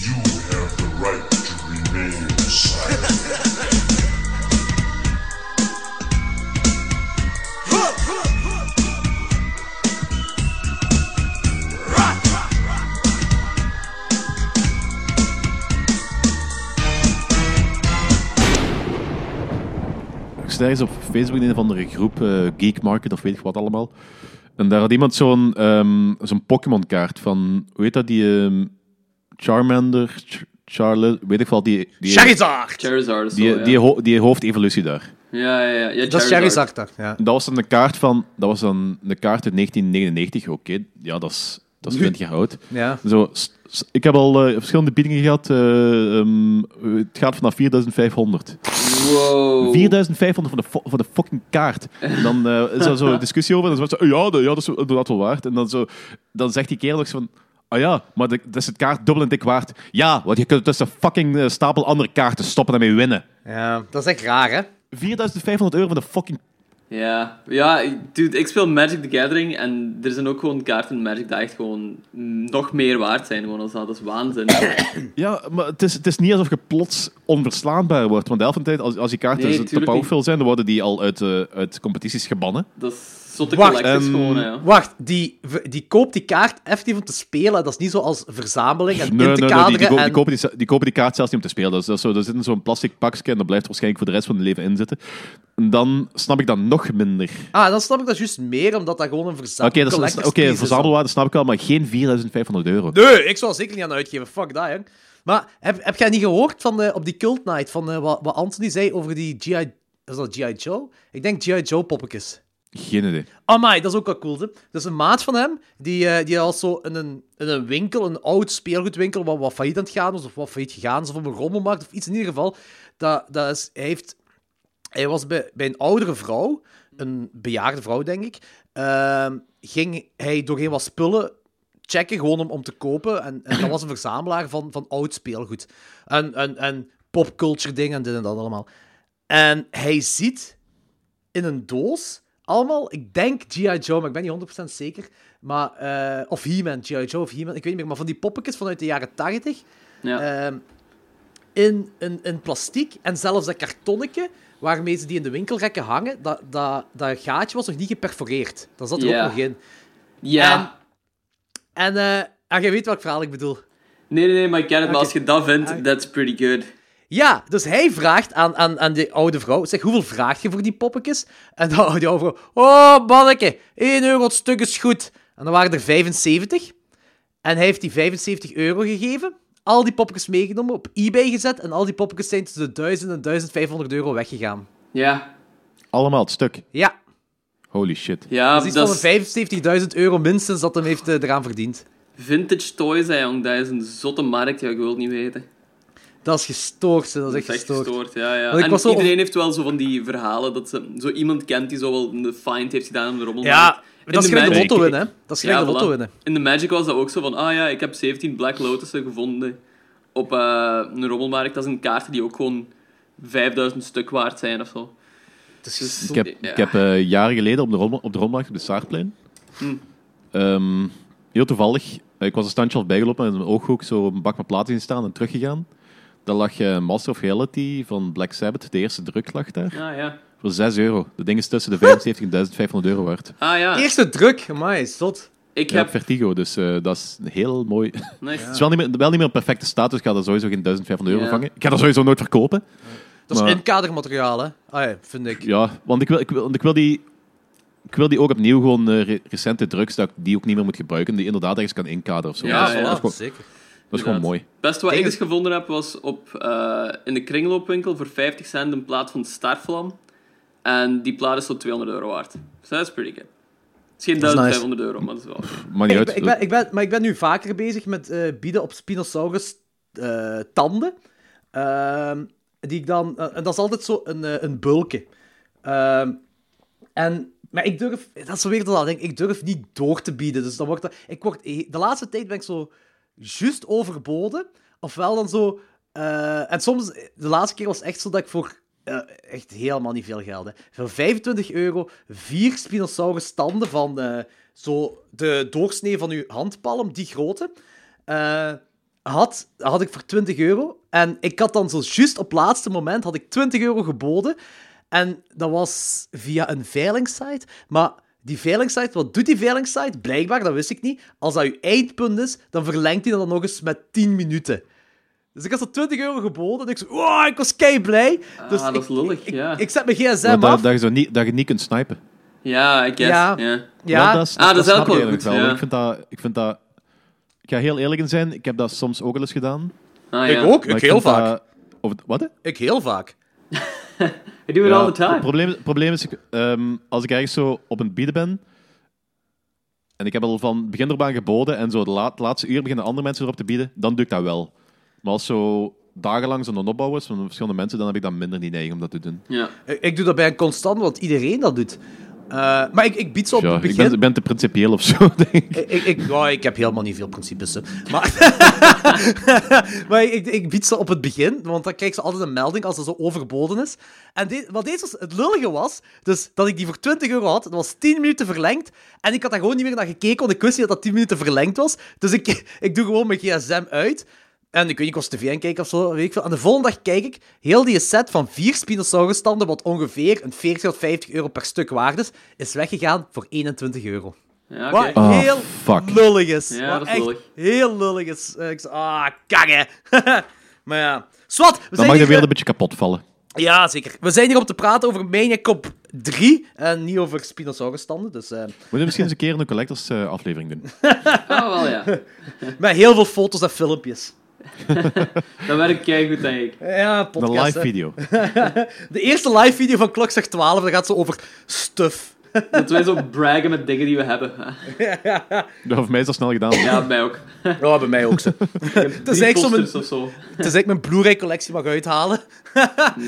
You have the right to remain silent. Ik zit ergens op Facebook in een of andere groep, eh, Geek Market of weet ik wat allemaal. En daar had iemand zo'n ehm, zo'n Pokémon-kaart van, hoe heet dat, die ehm, Charmander, Ch- Charlotte, weet ik wel, die, die, die, Charizard! Charizard. Zo, die, ja. ho- die hoofdevolutie daar. ja, ja, ja. ja, Dat is Charizard daar. Ja. En dat was dan een kaart van, dat was dan een kaart uit 1999, oké, ja, dat is, dat is 20 jaar oud. Ja. Zo, s- s- ik heb al eh, verschillende biedingen gehad, eh, ehm, het gaat vanaf 4500. Wow. 4500 van de, fo- van de fucking kaart. En dan eh, is er zo'n discussie over. En dan is het zo, "Eh, ja, dat, ja, dat is inderdaad wel waard. En dan, zo, dan zegt die kerel nog zo van... Ah ja, maar de- dat is het kaart dubbel en dik waard. Ja, want je kunt tussen een fucking eh, stapel andere kaarten stoppen en daarmee winnen. ja, dat is echt raar, hè? 4500 euro van de fucking Ja, ja, ik- dude, ik speel Magic the Gathering en er zijn ook gewoon kaarten in Magic die echt gewoon nog meer waard zijn gewoon als dat. Dat is waanzin. Ja, maar het is, het is niet alsof je plots onverslaanbaar wordt. Want de helft van de tijd, als, als die kaarten Nee, zo te tuurlijk powerful zijn, dan worden die al uit, eh, uit competities gebannen. dat is zotte Wacht, collecties ehm, gewoon, ja. Wacht, die, v- die koopt die kaart effectief om te spelen. Dat is niet zoals verzameling en in te die, die, kaderen. ko- die en- kopen die, ze- die kopen die kaart zelfs niet om te spelen. Dat is, dat is zo, er zit in zo'n plastic pakje en dat blijft waarschijnlijk voor de rest van hun leven in zitten. En dan snap ik dat nog minder. Ah, dan snap ik dat juist meer, omdat dat gewoon een Oké, verzameling dat is- collectors oké, piece is. verzamelwaarde snap ik wel, maar geen 4500 euro. Nee, ik zou er zeker niet aan uitgeven. Fuck dat, hè. Maar heb, heb jij niet gehoord van eh, op die Cult Night van eh, wat, wat Anthony zei over die G.I. Is dat G.I. Joe? Ik denk G.I. Joe poppetjes. Geen idee. Amai, dat is ook wel cool. Hè? Dus een maat van hem, die, eh, die had zo in een, in een winkel, een oud speelgoedwinkel, wat, wat failliet aan het gaan was, of wat failliet gegaan is, of op een rommelmarkt, of iets in ieder geval. Dat, dat is, hij, heeft, hij was bij, bij een oudere vrouw, een bejaarde vrouw, denk ik, ehm, ging hij doorheen wat spullen checken, gewoon om, om te kopen. En, en dat was een verzamelaar van, van oud speelgoed. En, en, en popculture dingen en dit en dat allemaal. En hij ziet in een doos. Allemaal, ik denk G.I. Joe, maar ik ben niet 100% zeker. Maar, eh, of He-Man, G.I. Joe of He-Man, ik weet niet meer. Maar van die poppetjes vanuit de jaren 80. ja. ehm, in, in, in plastiek. En zelfs dat kartonnetje waarmee ze die in de winkelrekken hangen, dat, dat, dat gaatje was nog niet geperforeerd. Dat zat er Ja. ook nog in. ja. En, eh, en je weet welk verhaal ik bedoel. Nee, nee, nee, maar ik ken het. Maar Oké. als je dat vindt, Ah. that's pretty good. Ja, dus hij vraagt aan, aan, aan die oude vrouw, zeg, hoeveel vraag je voor die poppetjes? En dan die oude vrouw, oh manneke, 1 euro het stuk is goed. En dan waren er 75. En hij heeft die 75 euro gegeven, al die poppetjes meegenomen, op eBay gezet, en al die poppetjes zijn tussen de 1000 en 1500 euro weggegaan. Ja, Allemaal het stuk. Ja, Holy shit. dat ja dat is is, iets van 75.000 euro minstens dat hem heeft eh, eraan verdiend. vintage toys, hè, jong. Dat is een zotte markt, ja, ik wil het niet weten. Dat is gestoord, hè, dat is Dat echt is echt gestoord. gestoord, ja, ja. Want ik En was zo- iedereen heeft wel zo van die verhalen dat ze zo iemand kent die zo wel een find heeft gedaan in de rommelmarkt. Ja, In dat is gelijk de Magic- lotto winnen, hè. Dat is gelijk de voilà. lotto winnen. In de Magic was dat ook zo van, ah ja, ik heb 17 Black Lotussen gevonden op eh, een rommelmarkt. Dat zijn kaarten die ook gewoon 5000 stuk waard zijn of zo. Dus, Ik heb, ja. ik heb eh, jaren geleden op de, rommel- op de rommelmarkt op de Saarplein. Hm. ehm, heel toevallig, eh, ik was een standje al bijgelopen en in mijn ooghoek zo een bak met platen zien staan en teruggegaan. Daar lag eh, Master of Reality van Black Sabbath, de eerste druk lag daar, Ah ja. voor 6 euro. De ding is tussen de 75.500 euro waard. Ah ja, Eerste druk, amai, zot. ik Ja, heb... Vertigo, dus eh, dat is heel mooi. Nice. Het is wel niet, meer, wel niet meer een perfecte status, dus ik ga dat sowieso geen 1500 euro Ja. vangen. Ik ga dat sowieso nooit verkopen. Dat is Maar- inkadermateriaal, hè. Ah ja, vind ik. Ja, want ik wil, ik wil, want ik wil die... Ik wil die ook opnieuw gewoon eh, re- recente drugs, dat ik die ook niet meer moet gebruiken. Die inderdaad ergens kan inkaderen of zo. Ja, dat, is, ja. dat is gewoon, zeker. dat is gewoon mooi. Inderdaad. Het beste wat ik Denk eens gevonden heb was op, eh, in de kringloopwinkel voor 50 cent een plaat van Starflam. En die plaat is zo 200 euro waard. Dus dat is pretty good. Het is geen Dat is 1500 euro, maar dat is wel. oké. Maar niet Ik uit. ben, ik ben, ik ben, maar ik ben nu vaker bezig met eh, bieden op Spinosaurus eh, tanden. Ehm, die ik dan, eh, en dat is altijd zo een, eh, een bulke. Ehm, en, maar ik durf, dat is zo weer dat ik denk, ik durf niet door te bieden. Dus dan wordt dat, ik word, e-, de laatste tijd ben ik zo juist overboden. Ofwel dan zo. eh, en soms, de laatste keer was echt zo dat ik voor eh, echt helemaal niet veel geld. Hè. Voor 25 euro vier Spinosaurus tanden van eh, zo de doorsnee van uw handpalm, die grote. eh, had, had ik voor 20 euro. En ik had dan zo juist op laatste moment had ik 20 euro geboden. En dat was via een veilingsite. Maar die veilingsite, wat doet die veilingsite? Blijkbaar, dat wist ik niet. Als dat je eindpunt is, dan verlengt hij dat nog eens met 10 minuten. Dus ik had zo 20 euro geboden. En ik zo, wow, ik was kei blij. dus Ah, dat ik, is lullig, ik, ja. Ik, ik zet mijn gsm dat, af. dat, je zo niet, dat je niet kunt snipen. Ja, ik guess. Ja. Ja. Wel, ja, dat, is- Ah, dat is snap ook ik wel eigenlijk goed, want ja. Ik, vind dat, ik vind dat... Ik ga heel eerlijk in zijn, ik heb dat soms ook al eens gedaan. Ah, ik ja. ook. maar Ik heel vind vaak. dat- of, wat? hè? Ik heel vaak. I do it Ja, all the Het time. probleem, het probleem is, ik, ehm, als ik ergens zo op een bieden ben, en ik heb al van begin erbaan geboden, en zo de laat- laatste uur beginnen andere mensen erop te bieden, dan doe ik dat wel. Maar als zo dagenlang zo'n opbouw is van verschillende mensen, dan heb ik dat minder die neiging om dat te doen. Ja. Ik, ik doe dat bij een constant, want iedereen dat doet. Eh, maar ik, ik bied ze op Ja, het ik begin. Eh, ben, ben te principieel of zo, denk ik. Ik, ik, ja, ik heb helemaal niet veel principes. hè. Maar, maar ik, ik bied ze op het begin, want dan krijg ze altijd een melding als ze zo overboden is. En de- wat deze was, het lullige was, dus dat ik die voor 20 euro had, dat was 10 minuten verlengd. En ik had daar gewoon niet meer naar gekeken, want ik wist niet dat dat 10 minuten verlengd was. Dus ik, ik doe gewoon mijn gsm uit. En ik weet niet, ik was tv aan het kijken of zo, weet ik veel. En de volgende dag kijk ik heel die set van vier Spinosaurus-tanden, wat ongeveer een 40 tot 50 euro per stuk waard is, is weggegaan voor 21 euro. Ja, Wat oké. Ah, heel fuck. lullig is. Ja, Wat dat is echt lullig. heel lullig is. Eh, Ik zei, ah, kaggen. maar ja. Swat, we Dan zijn mag de hier... wereld een beetje kapot vallen. Ja, zeker. We zijn hier om te praten over Maniac Cop 3 en niet over Spinosaurus-tanden. Dus, eh, Moeten we misschien eens een keer een collectors eh, aflevering doen? Ah, wel ja. met heel veel foto's en filmpjes. Dat werkt keigoed, denk ik. Ja, Een podcast. live hè. video. De eerste live video van Klokzeg 12, daar gaat ze over stuff. Dat wij zo braggen met dingen die we hebben. Dat heeft mij zo snel gedaan. Ja, mij ook. Ja, bij mij ook zo. Het is Drie eigenlijk zo mijn, posters of zo. het is eigenlijk mijn Blu-ray-collectie mag uithalen. maar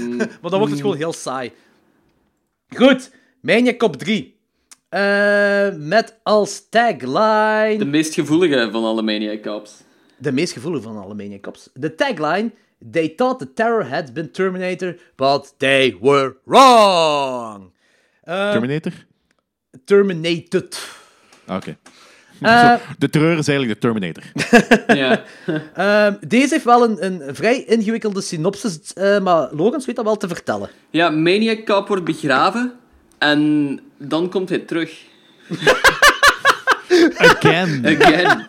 dan wordt het gewoon heel saai. Goed, Maniac Cop 3. Eh, met als tagline... De De, meest gevoelige van alle Maniac Cops. meest gevoelige van alle Maniac Cops. De tagline... They thought the terror had been Terminator, but they were wrong. Terminator? Terminated. Ah, Oké. Eh, Zo, de terreur is eigenlijk de Terminator. Ja. Ehm, deze heeft wel een, een vrij ingewikkelde synopsis, eh, maar Logans weet dat wel te vertellen. ja, Maniac Cop wordt begraven en dan komt hij terug. Again. Again.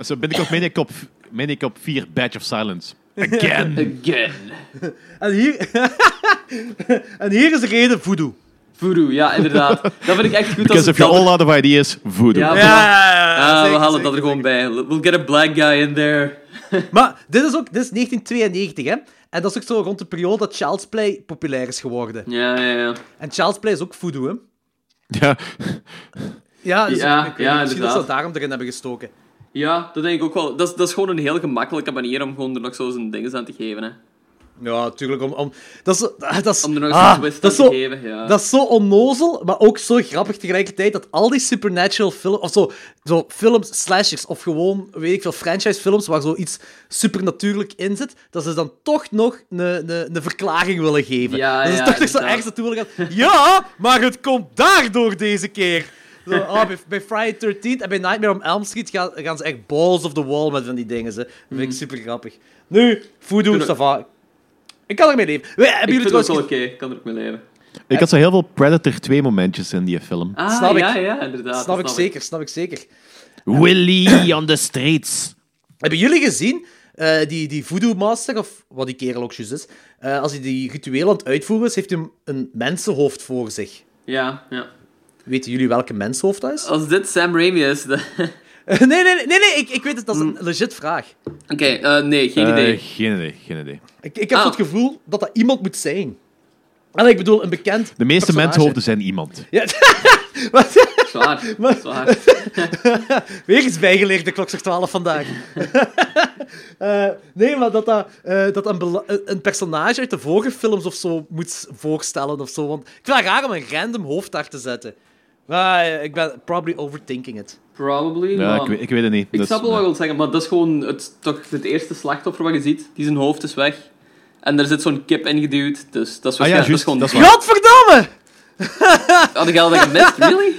Zo binnenkort meen ik op, meen ik op vier Badge of Silence. Again. Again. En hier, en hier is de reden, voodoo. Voodoo, ja, inderdaad. Dat vind ik echt goed als Because ze if you're dat- all out of ideas, voodoo. Ja, Ja, voilà. Ah, we zeker, halen zeker. dat er gewoon bij. We'll get a black guy in there. Maar dit is ook dit is 1992, hè? En dat is ook zo rond de periode dat Child's Play populair is geworden. Ja, ja, ja. En Child's Play is ook voodoo, hè? Ja. Ja, dus Ja, ik weet niet, misschien ja, dat ze inderdaad. dat daarom erin hebben gestoken. Ja, dat denk ik ook wel. Dat is, dat is gewoon een heel gemakkelijke manier om gewoon er nog zo zijn dingen aan te geven. Hè. Ja, tuurlijk. Om, om, dat is, zo- ah, dat is, Om er nog ah, zo'n twist dat aan is te zo, geven. Ja. Dat is zo onnozel, maar ook zo grappig tegelijkertijd dat al die supernatural films, of zo, zo films, slashers, of gewoon, weet ik veel, franchise films waar zoiets supernatuurlijk in zit, dat ze dan toch nog een een- een verklaring willen geven. Ja, dat ze ja, toch nog zo inderdaad. ergens naartoe willen gaan. Ja, maar het komt daardoor deze keer. Zo, ah, bij, bij Friday 13 en bij Nightmare on Elm Street gaan, gaan ze echt balls of the wall met van die dingen. Ze. Dat vind Mhm. ik super grappig. Nu, voodoo, Kunnen- Sava. Ik kan ermee leven. We- Hebben ik jullie vind het trouwens wel oké, ik kan er ook mee leven. Ik had zo heel veel Predator 2 momentjes in die film. Ah, Snap ik. ja, ja, inderdaad. Snap ik zeker, snap ik zeker. Willy on the streets. Hebben jullie gezien eh, die, die voodoo master, of wat die kerel ook juist is, eh, als hij die ritueel aan het uitvoeren is, heeft hij een mensenhoofd voor zich. Ja, ja. Weten jullie welke mensenhoofd dat is? Als dit Sam Raimi is... dan- nee, nee, nee, nee, nee, ik, ik weet het, dat is Mm. een legit vraag. Oké, eh, nee, geen idee. geen idee, geen idee. Ik, ik heb Ah. het gevoel dat dat iemand moet zijn. En ik bedoel, een bekend De meeste personage. mensenhoofden zijn iemand. Ja, wat- Zwaar, Maar- zwaar. Weer eens bijgeleerd, de klok zegt 12 vandaag. Eh, nee, maar dat, dat, eh, dat een, bela- een- een personage uit de vorige films of zo moet s- voorstellen of zo. Want ik vind het raar om een random hoofd daar te zetten. Maar eh, ik ben probably overthinking it. Probably, Ja, maar- ik, weet- ik weet het niet. Ik Dus, snap wel wat ja. je wilt zeggen, maar dat is gewoon het, toch het eerste slachtoffer wat je ziet. Die zijn hoofd is weg. En daar zit zo'n kip in geduwd, dus dat is, Ah ja, waarschijnlijk- juist, dat dat is is gewoon... waar. Godverdamme! Had ik al dat gemist? Really?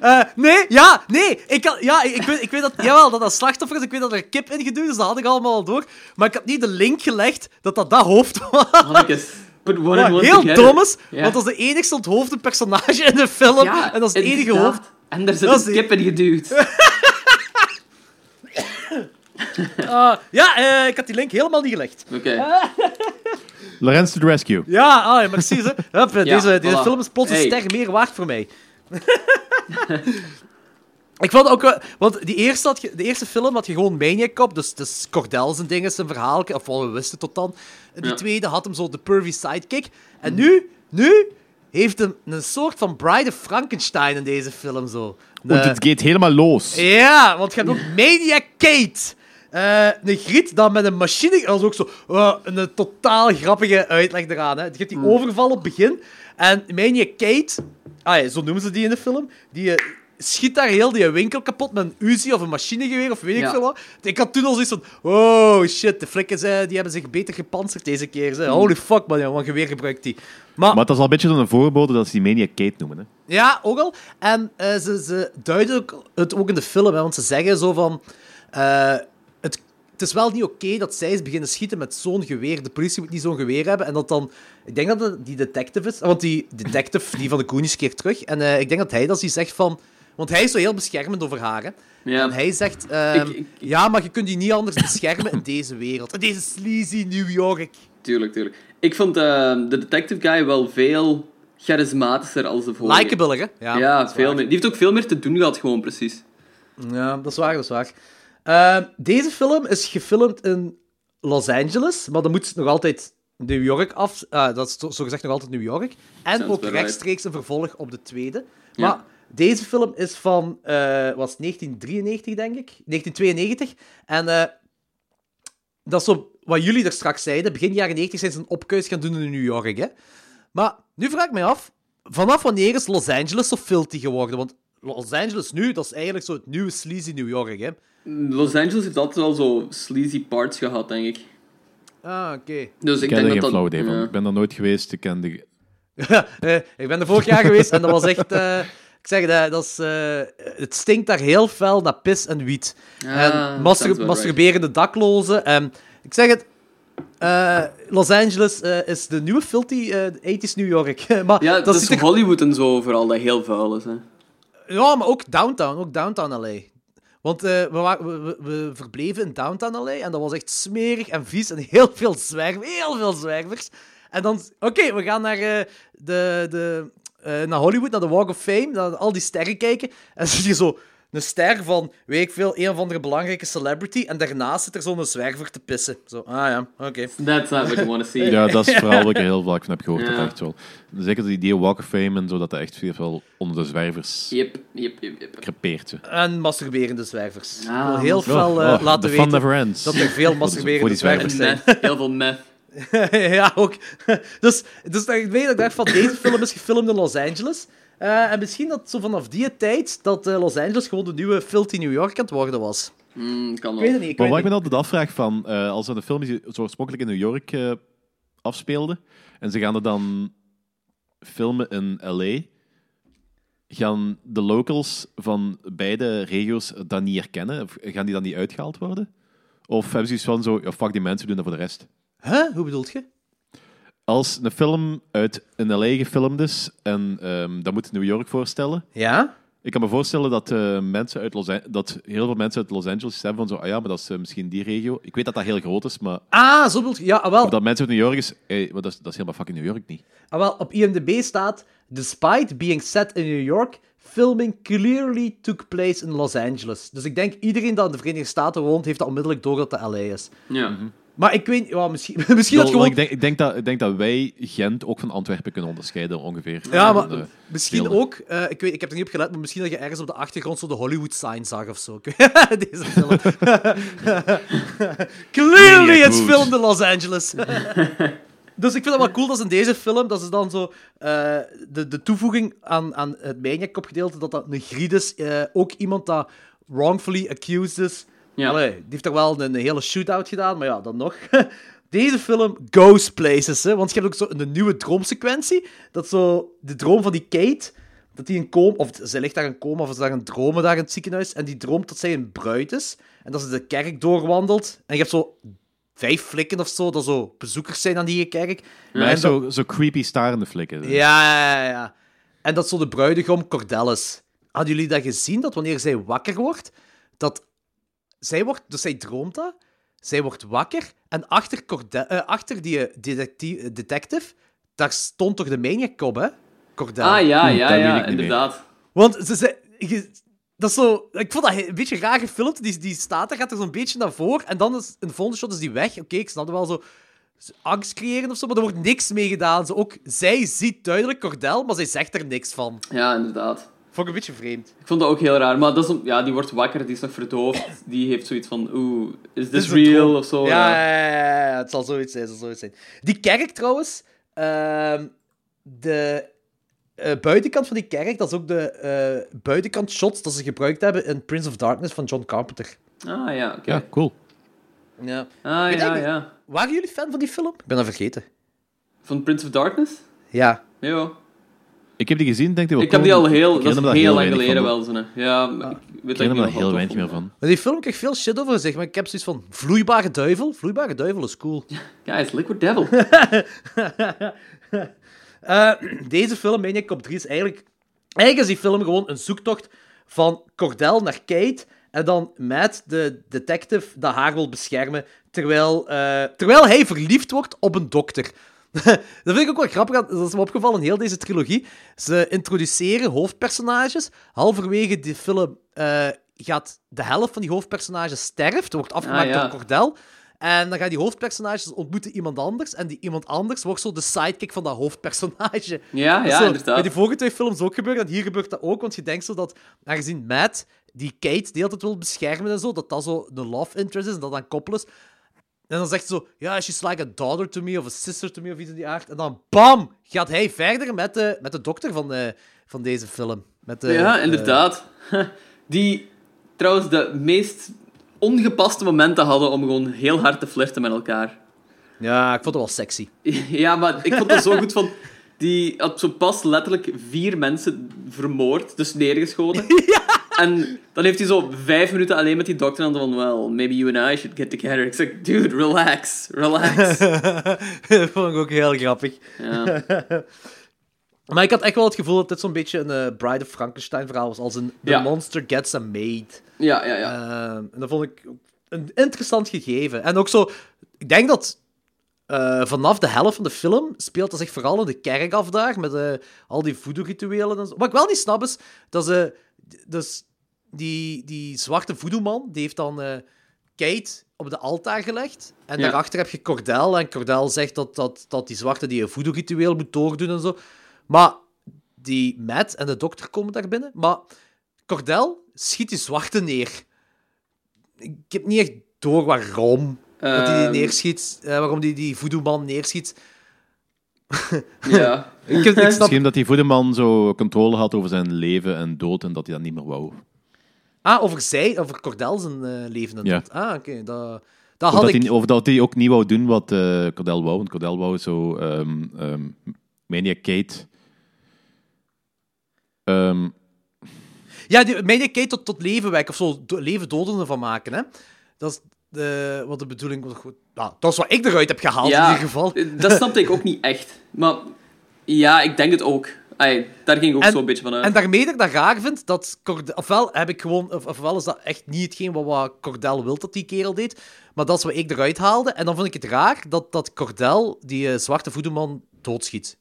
Eh, nee, ja, nee. Ik, had, ja, ik, ik weet, ik weet dat, jawel, dat dat slachtoffer is. Ik weet dat er een kip in geduwd is. Dat had ik allemaal al door. Maar ik had niet de link gelegd dat dat dat hoofd was. Mannetjes. Put one Wat and one Ah, heel together. dom is, Ja. want dat is de enigste onthoofde personage in de film. Ja, en dat is het enige inderdaad. hoofd. En daar zit Dat is een de- kip in geduwd. Ah, ja, eh, ik had die link helemaal niet gelegd. Oké. Lorenz to the rescue. Ja, ah, ja, precies. Hè. Hup, eh, Ja, deze deze voilà. film is plots een Hey. ster meer waard voor mij. ik vond ook... wel- Want die eerste had je- de eerste film had je gewoon Maniac Cop, dus, dus Cordel zijn ding, zijn verhaal. Of wat we wisten tot dan. En Die Ja. tweede had hem zo de pervy sidekick. En nu, nu heeft hem een soort van Bride of Frankenstein in deze film zo. Want De- het gaat helemaal los. Ja, want je hebt ook Maniac Kate. Eh, een griet dan met een machine... Dat is ook zo eh, een totaal grappige uitleg eraan. Hè. Je hebt die overval op het begin. En Mania Kate, ah ja, zo noemen ze die in de film, die eh, schiet daar heel die winkel kapot met een Uzi of een machinegeweer of weet ik Ja. veel wat. Ik had toen al zoiets van, oh shit, de flikkers eh, die hebben zich beter gepantserd deze keer. Ze. Holy fuck man, ja, wat een geweer gebruikt die. Maar, Maar dat is al een beetje zo'n voorbode dat ze die Mania Kate noemen. Hè. ja, ook al. En eh, ze, ze duiden ook- het ook in de film, hè, want ze zeggen zo van... eh, het, het is wel niet oké dat zij eens beginnen schieten met zo'n geweer. De politie moet niet zo'n geweer hebben. En dat dan... Ik denk dat het die detective is. Want die detective, die van de Koenigs keert terug. En eh, ik denk dat hij dat die zegt van... Want hij is zo heel beschermend over haar, hè. Ja. En hij zegt... ehm, Ik- ik- Ja, maar je kunt die niet anders beschermen in deze wereld. In deze sleazy New York. Tuurlijk, tuurlijk. Ik vond eh, de detective guy wel veel charismatischer als de vorige. Likeable, hè? Ja, dat is veel waar. meer. Die heeft ook veel meer te doen gehad, gewoon precies. Ja, dat is waar, dat is waar. Ehm, deze film is gefilmd in Los Angeles, maar dan moet het nog altijd New York af. eh, dat is zo- zogezegd nog altijd New York. En Sounds ook about right. rechtstreeks een vervolg op de tweede. Ja. Maar deze film is van eh, was 1993, denk ik. 1992. En eh, dat is zo wat jullie er straks zeiden. Begin jaren 90 zijn ze een opkuis gaan doen in New York. Hè? Maar nu vraag ik mij af, vanaf wanneer is Los Angeles zo filthy geworden? Want Los Angeles nu, dat is eigenlijk zo het nieuwe sleazy New York, hè? Los Angeles heeft altijd wel zo sleazy parts gehad, denk ik. Ah, oké. Dus ik Ik ken er denk geen dat flauw dat... idee van. ja. Ik ben daar nooit geweest. Ik ken de... Eh, ik ben er vorig jaar geweest en dat was echt... eh, ik zeg, dat, dat is, eh, het stinkt daar heel fel naar pis en wiet. Ah, en sounds mastur- about right. masturberende daklozen. En, ik zeg het, eh, Los Angeles eh, is de nieuwe filthy eh 80s New York. maar Ja, dat, dat is ziet er Hollywood en zo vooral, dat heel vuil is. Hè. Ja, maar ook downtown, ook downtown LA. Want eh, we, wa- we, we- we verbleven in downtown LA en dat was echt smerig en vies en heel veel zwervers, heel veel zwervers. En dan, oké, we gaan naar, eh, de, de, eh, naar Hollywood, naar de Walk of Fame, naar al die sterren kijken. En dan zie je zo een ster van, weet ik veel, een of andere belangrijke celebrity. En daarnaast zit er zo'n zwerver te pissen. Zo, ah ja, oké. That's not what you want to see. Ja, dat is het verhaal wat ik er heel vaak van heb gehoord. Ja. Dat echt wel. Zeker die idee Walk of Fame en zo, dat dat echt veel wel onder de zwervers Yep, yep, yep, yep. crepeert. hè. En masturberende zwervers. Ik wil Ah, heel Oh, veel eh, oh, laten the fun weten never ends. dat er veel Voor de- voor masturberende die zwervers zwervers. En zijn. meth, heel veel meth. ja, ook. Dus, dus dat ik weet dat ik dacht van deze film is gefilmd in Los Angeles. Eh, en misschien dat zo vanaf die tijd dat eh, Los Angeles gewoon de nieuwe filthy New York aan het worden was. Mm, kan Ik weet wel. het niet. Ik Maar weet wat ik het me niet. altijd afvraag van, eh, als dat een film is die zo oorspronkelijk in New York eh, afspeelde, en ze gaan er dan filmen in L.A., gaan de locals van beide regio's dat niet herkennen? Of gaan die dan niet uitgehaald worden? Of hebben ze iets van zo, ja, fuck die mensen, we doen dat voor de rest? Huh? Hoe bedoelt je? Als een film uit in L.A. gefilmd is, en ehm, dat moet New York voorstellen, Ja? ik kan me voorstellen dat, eh, mensen uit Los An- dat heel veel mensen uit Los Angeles zijn van zo, ah ja, maar dat is eh, misschien die regio. Ik weet dat dat heel groot is, maar Ah, zo bedoelt je. Ja, ah, wel. Of dat mensen uit New York is, hey, maar dat, is, dat is helemaal fucking New York niet. Ah, wel, op IMDb staat: Despite being set in New York, filming clearly took place in Los Angeles. Dus ik denk iedereen dat in de Verenigde Staten woont, heeft dat onmiddellijk door dat de LA is. Ja. Mhm. Maar ik weet, ja, misschien, misschien dat Wel, gewoon wel, ik, denk, ik, denk dat, ik denk dat wij Gent ook van Antwerpen kunnen onderscheiden, ongeveer. Ja, maar Van, eh, misschien beelden. ook, eh, ik, weet, ik heb er niet op gelet, maar misschien dat je ergens op de achtergrond zo de Hollywood sign zag of zo. Ik weet- Deze film. Clearly, Maniac it's Wood. filmed in Los Angeles. dus ik vind het wel cool dat ze in deze film, dat ze dan zo eh, de, de toevoeging aan, aan het Maniac-kopgedeelte, dat dat een griet is, eh, ook iemand dat wrongfully accused is. Ja. Allee, die heeft er wel een, een hele shootout gedaan, maar ja, dan nog. Deze film goes places, hè? want je hebt ook zo een nieuwe droomsequentie. Dat zo de droom van die Kate, dat die een coma, of zij ligt daar in coma, of ze daar een dromen daar in het ziekenhuis, en die droomt dat zij een bruid is, en dat ze de kerk doorwandelt. En je hebt zo vijf flikken of zo, dat zo bezoekers zijn aan die kerk. Maar en echt dat- zo, zo creepy starende flikken. ja, ja, ja, ja. En dat zo de bruidegom Cordelis. Hadden jullie dat gezien, dat wanneer zij wakker wordt, dat zij wordt, dus zij droomt dat, zij wordt wakker en achter, Corde eh, achter die eh, detecti- eh, detective, daar stond toch de maniac op, hè? Cordelis. Ah, ja, Hm, ja, dat weet ik ja, niet inderdaad. Want ze, ze, je- dat is zo, ik vond dat een beetje raar gefilmd. Die, die staat er, gaat er zo'n beetje naar voor. En dan is in de volgende shot is die weg. Oké, ik snap het wel zo. Angst creëren of zo, maar er wordt niks mee gedaan. Zo, ook zij ziet duidelijk Cordel, maar zij zegt er niks van. Ja, inderdaad. Vond ik een beetje vreemd. Ik vond dat ook heel raar. Maar dat is, om- ja, die wordt wakker, die is nog verdoofd. Die heeft zoiets van, oeh, is this is een real? droom. Of zo. Ja, ja, ja, ja, ja, het zal zoiets zijn, het zal zoiets zijn. Die kerk trouwens, ehm, de eh, buitenkant van die kerk, dat is ook de eh, buitenkant shots dat ze gebruikt hebben in Prince of Darkness van John Carpenter. Ah ja, oké. Ja, cool. Ja. Ah Weet ja, ik- ja. Waren jullie fan van die film? Ik ben dat vergeten. Van Prince of Darkness? Ja. Nee hoor. Ik heb die gezien, denk ik. wel Ik heb cool. die al heel, Ik dat is herinner me heel, daar lang weinig geleden van. wel. Zo, hè. ja, maar ik weet Ik herinner me dat daar ik heel weinig meer meer van. Maar die film kreeg veel shit over zich, maar ik heb zoiets van... Vloeibare duivel? Vloeibare duivel is cool. Guys, Liquid Devil. Eh, deze film, Maniac Cop 3, is eigenlijk... Eigenlijk is die film gewoon een zoektocht van Cordell naar Kate... En dan Matt, de detective, dat haar wil beschermen... Terwijl, eh, terwijl hij verliefd wordt op een dokter. dat vind ik ook wel grappig. want Dat is me opgevallen in heel deze trilogie. Ze introduceren hoofdpersonages. Halverwege die film eh, gaat de helft van die hoofdpersonages sterft. Wordt afgemaakt Ah, ja. door Cordell. En dan gaan die hoofdpersonages ontmoeten iemand anders. En die iemand anders wordt zo de sidekick van dat hoofdpersonage. Ja, Dat is ja, zo- inderdaad. Bij die vorige twee films ook gebeurd. En hier gebeurt dat ook. Want je denkt zo dat, aangezien Matt die Kate de hele tijd wil beschermen en zo, dat dat zo een love interest is en dat dan koppelen is. En dan zegt ze zo, ja, she's like a daughter to me of a sister to me of iets in die aard. En dan bam, gaat hij verder met de, met de dokter van, eh, van deze film. Met de, ja, eh, inderdaad. Die trouwens de meest ongepaste momenten hadden om gewoon heel hard te flirten met elkaar. ja, ik vond het wel sexy. Ja, maar ik vond het zo goed van... Die had zo pas letterlijk vier mensen vermoord, dus neergeschoten. En dan heeft hij zo vijf minuten alleen met die dokter en dan van... Well, maybe you and I should get together. Ik zeg, dude, relax, relax. dat vond ik ook heel grappig. Ja. Maar ik had echt wel het gevoel dat dit zo'n beetje een eh, Bride of Frankenstein verhaal was. Als een The Ja. Monster Gets a Maid. Ja, ja, ja. Ehm, en dat vond ik ook een interessant gegeven. En ook zo, ik denk dat eh, vanaf de helft van de film speelt dat zich vooral in de kerk af daar, met eh, al die voodoo-rituelen en zo. Wat ik wel niet snap is, dat ze, dus die, die zwarte voodoo-man, die heeft dan eh, Kate op de altaar gelegd. En Ja. daarachter heb je Cordel, en Cordel zegt dat, dat, dat die zwarte die een voodoo-ritueel moet doordoen en zo. Maar die Matt en de dokter komen daar binnen, maar Cordel schiet die zwarte neer. Ik heb niet echt door waarom dat hij Ehm. die neerschiet, eh, waarom die, die voodoo-man neerschiet. Eh, ja. Ik, heb- ik snap... Misschien dat die voedeman zo controle had over zijn leven en dood en dat hij dat niet meer wou. Ah, over zij, over Cordel zijn eh, leven en Ja. dat. Ah, oké. Dat, dat Of had dat, ik... hij, of dat hij ook niet wou doen wat eh Cordell wou. Want Cordell wou zo ehm ehm Maniac Kate... ehm, Ja, die Maniac Kate tot, tot leven wekken, of zo, do- leven doden ervan maken, hè. Dat is de, wat de bedoeling... was. Goed, nou, dat is wat ik eruit heb gehaald, in ieder geval. eh, Dat snapte ik ook niet echt. Maar ja, ik denk het ook. Ai, daar ging ik ook En- zo'n beetje van uit. En daarmee dat ik dat raar vind, dat Cordel, ofwel, heb ik gewoon, of, ofwel is dat echt niet hetgeen wat, wat Cordel wil dat die kerel deed, maar dat is wat ik eruit haalde. En dan vond ik het raar dat, dat Cordel die eh, zwarte voedeman doodschiet.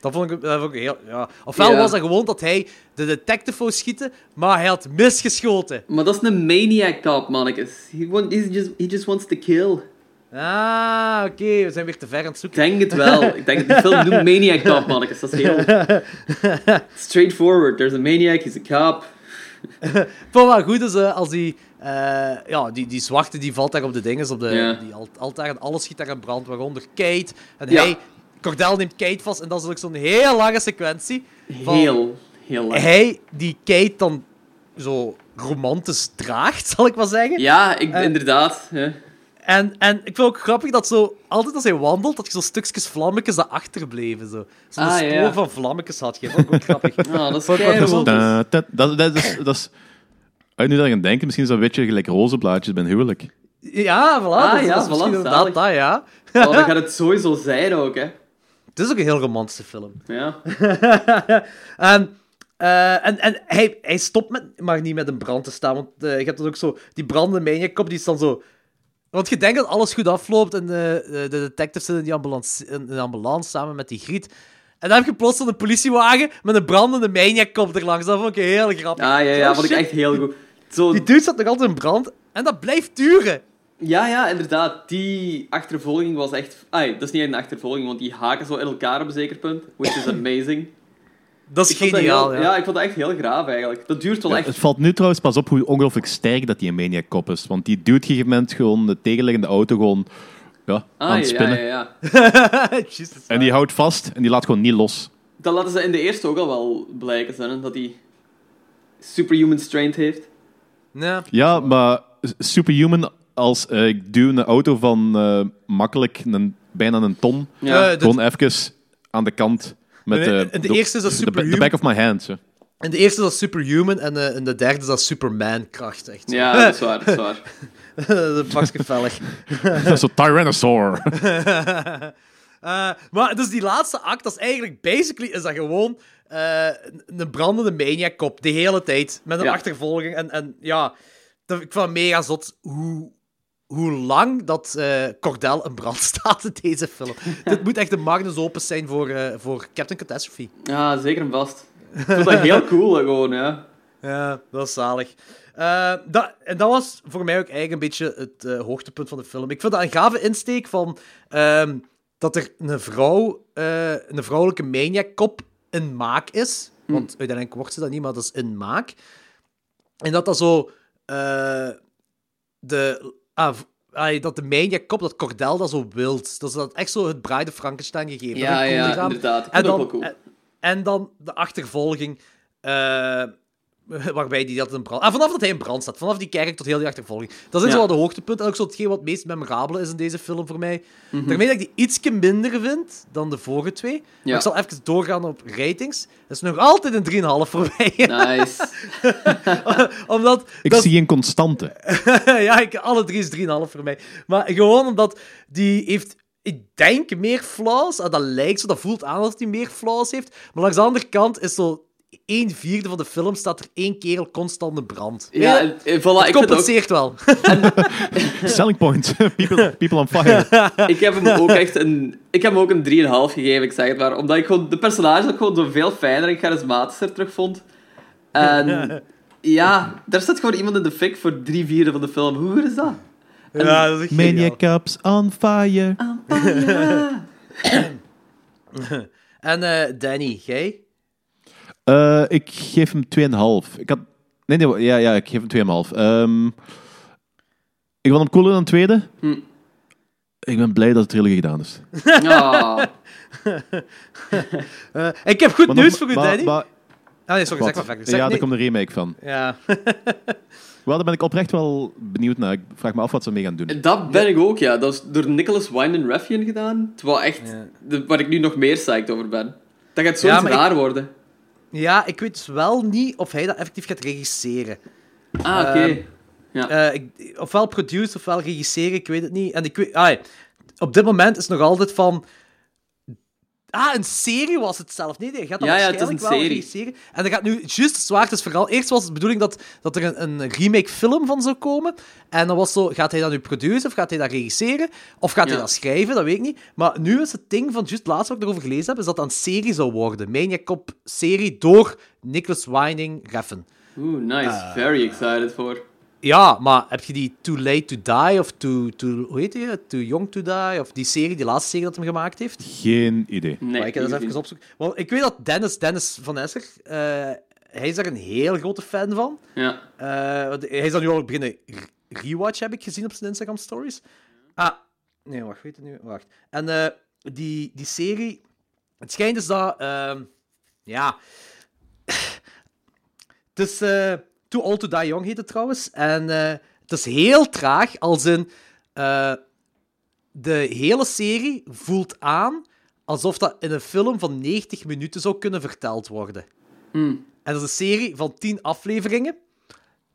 Dat vond ik, dat vond ik heel... Ja. Ofwel Ja. was dat gewoon dat hij de detective wou schieten, maar hij had misgeschoten. Maar dat is een maniac cop, mannetjes. He, want, he's just, he just wants to kill. Ah, oké, we zijn weer te ver aan het Ik zoeken. denk het wel. Ik denk het. Die film noemt maniac cop, mannetjes. Dat is heel... Straightforward. There's a maniac, he's a cop. Ik vond wel goed dus, eh, als die, eh, ja, die, die zwarte die valt daar op de dingen, op de Ja. die al- altaar en alles schiet daar in brand, waaronder Kate. En Ja. hij, Cordel neemt Kate vast en dat is ook zo'n heel lange sequentie. van Heel, heel lang. Hij die Kate dan zo romantisch draagt, zal ik maar zeggen. Ja, ik, Eh. inderdaad. Ja. En, en ik vind ook grappig dat zo, altijd als hij wandelt, dat je zo stukjes vlammetjes dat achterbleven. Zo. Zo'n Ah, spoor ja. van vlammetjes had je. Vond ik ook grappig. Ah, dat is Fuck, wat kei is dat? romantisch. da- da- dat, dat is... Dat is als je nu daar aan denken, misschien is dat een beetje gelijk rozenblaadjes bij een huwelijk. Ja, voilà. dus Ah, dat is- ja, dat is voilà, misschien inderdaad zalig. dat, ja. Oh, dan gaat het sowieso zijn ook, hè. Het is ook een heel romantische film. Ja. Ah, En, Ehm, eh, en, en hij, hij stopt met, maar niet met een brand te staan. Want eh, je hebt dat ook zo. Die brandende mijnenkop die is dan zo. Want je denkt dat alles goed afloopt. En eh, eh, de detectives zitten in die ambulance, in de ambulance samen met die griet. En dan heb je plots een politiewagen met een brandende mijnenkop er langs. Dat vond ik heel grappig. Ah, ja, Oh, ja. Vond ik shit, echt heel goed. Zo, Die dude zat nog altijd in brand. En dat blijft duren. Ja, ja, inderdaad. Die achtervolging was echt... Ai, dat is niet echt een achtervolging, want die haken zo in elkaar op een zeker punt. Which is amazing. Dat is Ik vond dat geniaal. heel- ja. ik vond dat echt heel graaf, eigenlijk. Dat duurt wel Ja, echt... Het valt nu trouwens pas op hoe ongelooflijk sterk dat die een maniac cop is. Want die duwt op een gegeven moment gewoon de tegenliggende auto gewoon ja, Ah, aan het ja, spinnen. ja, ja. Jezus. En die houdt vast en die laat gewoon niet los. Dat laten ze in de eerste ook al wel blijken, zijn, hè, dat hij superhuman strength heeft. Ja. Ja, maar superhuman als eh, ik duw een auto van eh, makkelijk een, bijna een ton, Ja. Eh, de- gewoon even aan de kant met Nee, eh, en de eerste is dat de- de superhuman. back of my hand. Zo. In de eerste is dat superhuman en eh, in de derde is dat Superman-kracht. Echt. zo. Ja, dat is waar, dat is waar. dat is pakje vellig. Dat is zo'n Tyrannosaur. Eh, maar dus die laatste act, dat is eigenlijk basically is dat gewoon eh, een brandende maniac-kop de hele tijd met een Ja. achtervolging. En, en ja, dat, ik vond het mega zot hoe, hoe lang dat eh, Cordel in brand staat in deze film. Dit moet echt een magnus opus zijn voor, eh, voor Captain Catastrophe. Ja, zeker en vast. Ik vond dat heel cool, hè, gewoon, ja. Ja, dat is zalig. Eh, dat, en dat was voor mij ook eigenlijk een beetje het eh, hoogtepunt van de film. Ik vind dat een gave insteek van ehm, dat er een vrouw, eh, een vrouwelijke maniac-kop in maak is. Hmm. Want uiteindelijk wordt ze dat niet, maar dat is in maak. En dat dat zo... eh, de, ah, v- ah, dat de maniac-kop, dat Cordel dat zo wild. Dat ze dat echt zo het Bride of Frankenstein gegeven. Ja, dat is cool ja, gedaan. inderdaad. Ik En vind dat dan, ook wel cool. en, en dan de achtervolging... eh, Waarbij die dat in brand. Ah, vanaf dat hij in brand staat, vanaf die kerk tot heel die achtervolging. Dat is Ja. zo wel de hoogtepunt. En ook zo hetgeen wat het meest memorabel is in deze film voor mij. Mhm. Daarmee dat ik die ietsje minder vind dan de vorige twee. Maar Ja. ik zal even doorgaan op ratings. Dat is nog altijd een 3,5 voor mij. Nice. Omdat Ik dat- zie een constante. ja, ik, alle drie is 3,5 voor mij. Maar gewoon omdat die heeft, ik denk, meer flaws. Ah, dat lijkt zo, dat voelt aan dat hij meer flaws heeft. Maar langs de andere kant is zo 1 vierde van de film staat er één kerel constant in brand. Ja, Weet je? en- en voilà, ik, vind ook, compenseert wel. Selling point. People, people on fire. ik heb hem ook echt een... Ik heb hem ook een 3,5 gegeven, ik zeg het maar. Omdat ik gewoon de personage ook gewoon zo veel fijner en charismatischer terug vond. En... Ja, daar staat gewoon iemand in de fik voor drie vierde van de film. Hoe goed is dat? Ja, dat is Maniac Cups on fire. En eh, Danny, jij? Eh, ik geef hem 2,5. Ik had... Nee, nee, ja, ja, ik geef hem 2,5. Ehm, ik vond hem cooler dan de tweede. Hm. Ik ben blij dat het trilogie gedaan is. Ja. Eh, ik heb goed Maar nieuws nog- voor u, maar- Danny. maar- ah, nee, sorry, zeg maar wat? verder. Zeg, ja, nee. daar komt een remake van. Ja. Wel, daar ben ik oprecht wel benieuwd naar. Ik vraag me af wat ze mee gaan doen. Dat ben ik ook, ja. Dat is door Nicholas Winding Refn gedaan. Terwijl echt... de- waar ik nu nog meer psyched over ben. Dat gaat Ja, zoiets maar ik- raar worden. ja, ik weet dus wel niet of hij dat effectief gaat regisseren. Ah, oké. Ehm, Eh, ik- ofwel produce, ofwel regisseren, ik weet het niet. En ik weet, ah, ja. op dit moment is nog altijd van... Ah, een serie was het zelf. Nee, nee, gaat dat Ja, ja, het is waarschijnlijk een wel serie. regisseren. En dat gaat nu juist zwaar. Dus vooral, eerst was het de bedoeling dat, dat er een, een remake-film van zou komen. En dan was zo, gaat hij dat nu produceren, of gaat hij dat regisseren? Of gaat hij Ja. dat schrijven? Dat weet ik niet. Maar nu is het ding van, juist laatst wat ik erover gelezen heb, is dat dat een serie zou worden. Maniac Cop-serie door Nicholas Winding Refn. Oeh, nice. eh, Very excited voor. Ja, maar heb je die Too Late to Die of Too, too hoe heet die? Too Young to Die of die serie, die laatste serie dat hem gemaakt heeft? Geen idee. Nee, Maar ik ga dat eens even opzoeken. Want ik weet dat Dennis, Dennis van Esser, eh, hij is daar een heel grote fan van. Ja. Eh, want hij is dan nu al beginnen re- rewatch, heb ik gezien op zijn Instagram stories. Ah, nee, wacht, weet het nu? Wacht. En eh, die, die serie, het schijnt dus dat, ehm, ja, het is eh, Too Old To Die Young heet het trouwens. En eh, het is heel traag, als in eh, de hele serie voelt aan alsof dat in een film van 90 minuten zou kunnen verteld worden. En dat is een serie van 10 afleveringen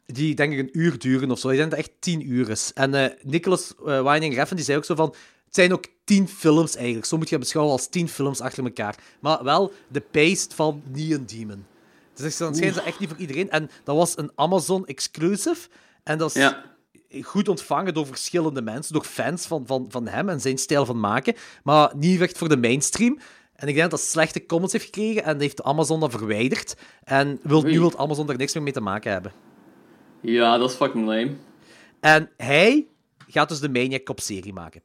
die denk ik een uur duren of zo. Ik denk dat het echt tien uur is. En eh, Nicholas eh, Winding Refn die zei ook zo van... Het zijn ook tien films eigenlijk. Zo moet je het beschouwen als tien films achter elkaar. Maar wel de pace van Neon Demon. Dus dan schijnt dat echt niet voor iedereen. En dat was een Amazon exclusive. En dat is Ja. goed ontvangen door verschillende mensen. Door fans van, van, van hem en zijn stijl van maken. Maar niet echt voor de mainstream. En ik denk dat dat slechte comments heeft gekregen. En heeft Amazon dat verwijderd. En wil, nu Oei. wil Amazon daar niks meer mee te maken hebben. Ja, dat is fucking lame. En hij gaat dus de Maniac Cop serie maken.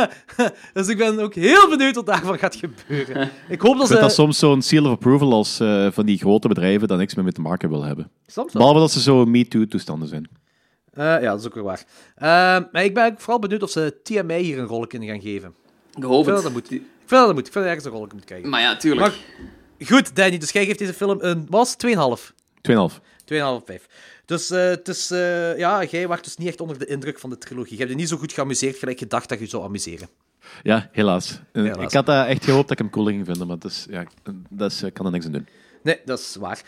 dus ik ben ook heel benieuwd wat daarvan gaat gebeuren. Ik hoop dat Ik vind ze... dat soms zo'n seal of approval als eh, van die grote bedrijven dat niks meer mee te maken wil hebben. Soms wel. Behalve dat ze zo me-too-toestanden zijn. Eh, ja, dat is ook weer waar. Eh, maar ik ben ook vooral benieuwd of ze TMI hier een rol in gaan geven. Ik hoop vind het. dat dat moet. Ik vind dat dat moet. Ik vind dat ergens een rolletje moet krijgen. Maar ja, tuurlijk. Goed, Danny, dus jij geeft deze film een... was 2,5. 2,5. 2,5 5. Dus, eh, het is, eh, ja, jij werd dus niet echt onder de indruk van de trilogie. Je hebt je niet zo goed geamuseerd gelijk je dacht dat je zou amuseren. Ja, helaas. En Helaas. Ik had eh, echt gehoopt dat ik hem cool ging vinden, maar dat is, ja, dat is, eh, kan er niks aan doen. Nee, dat is waar.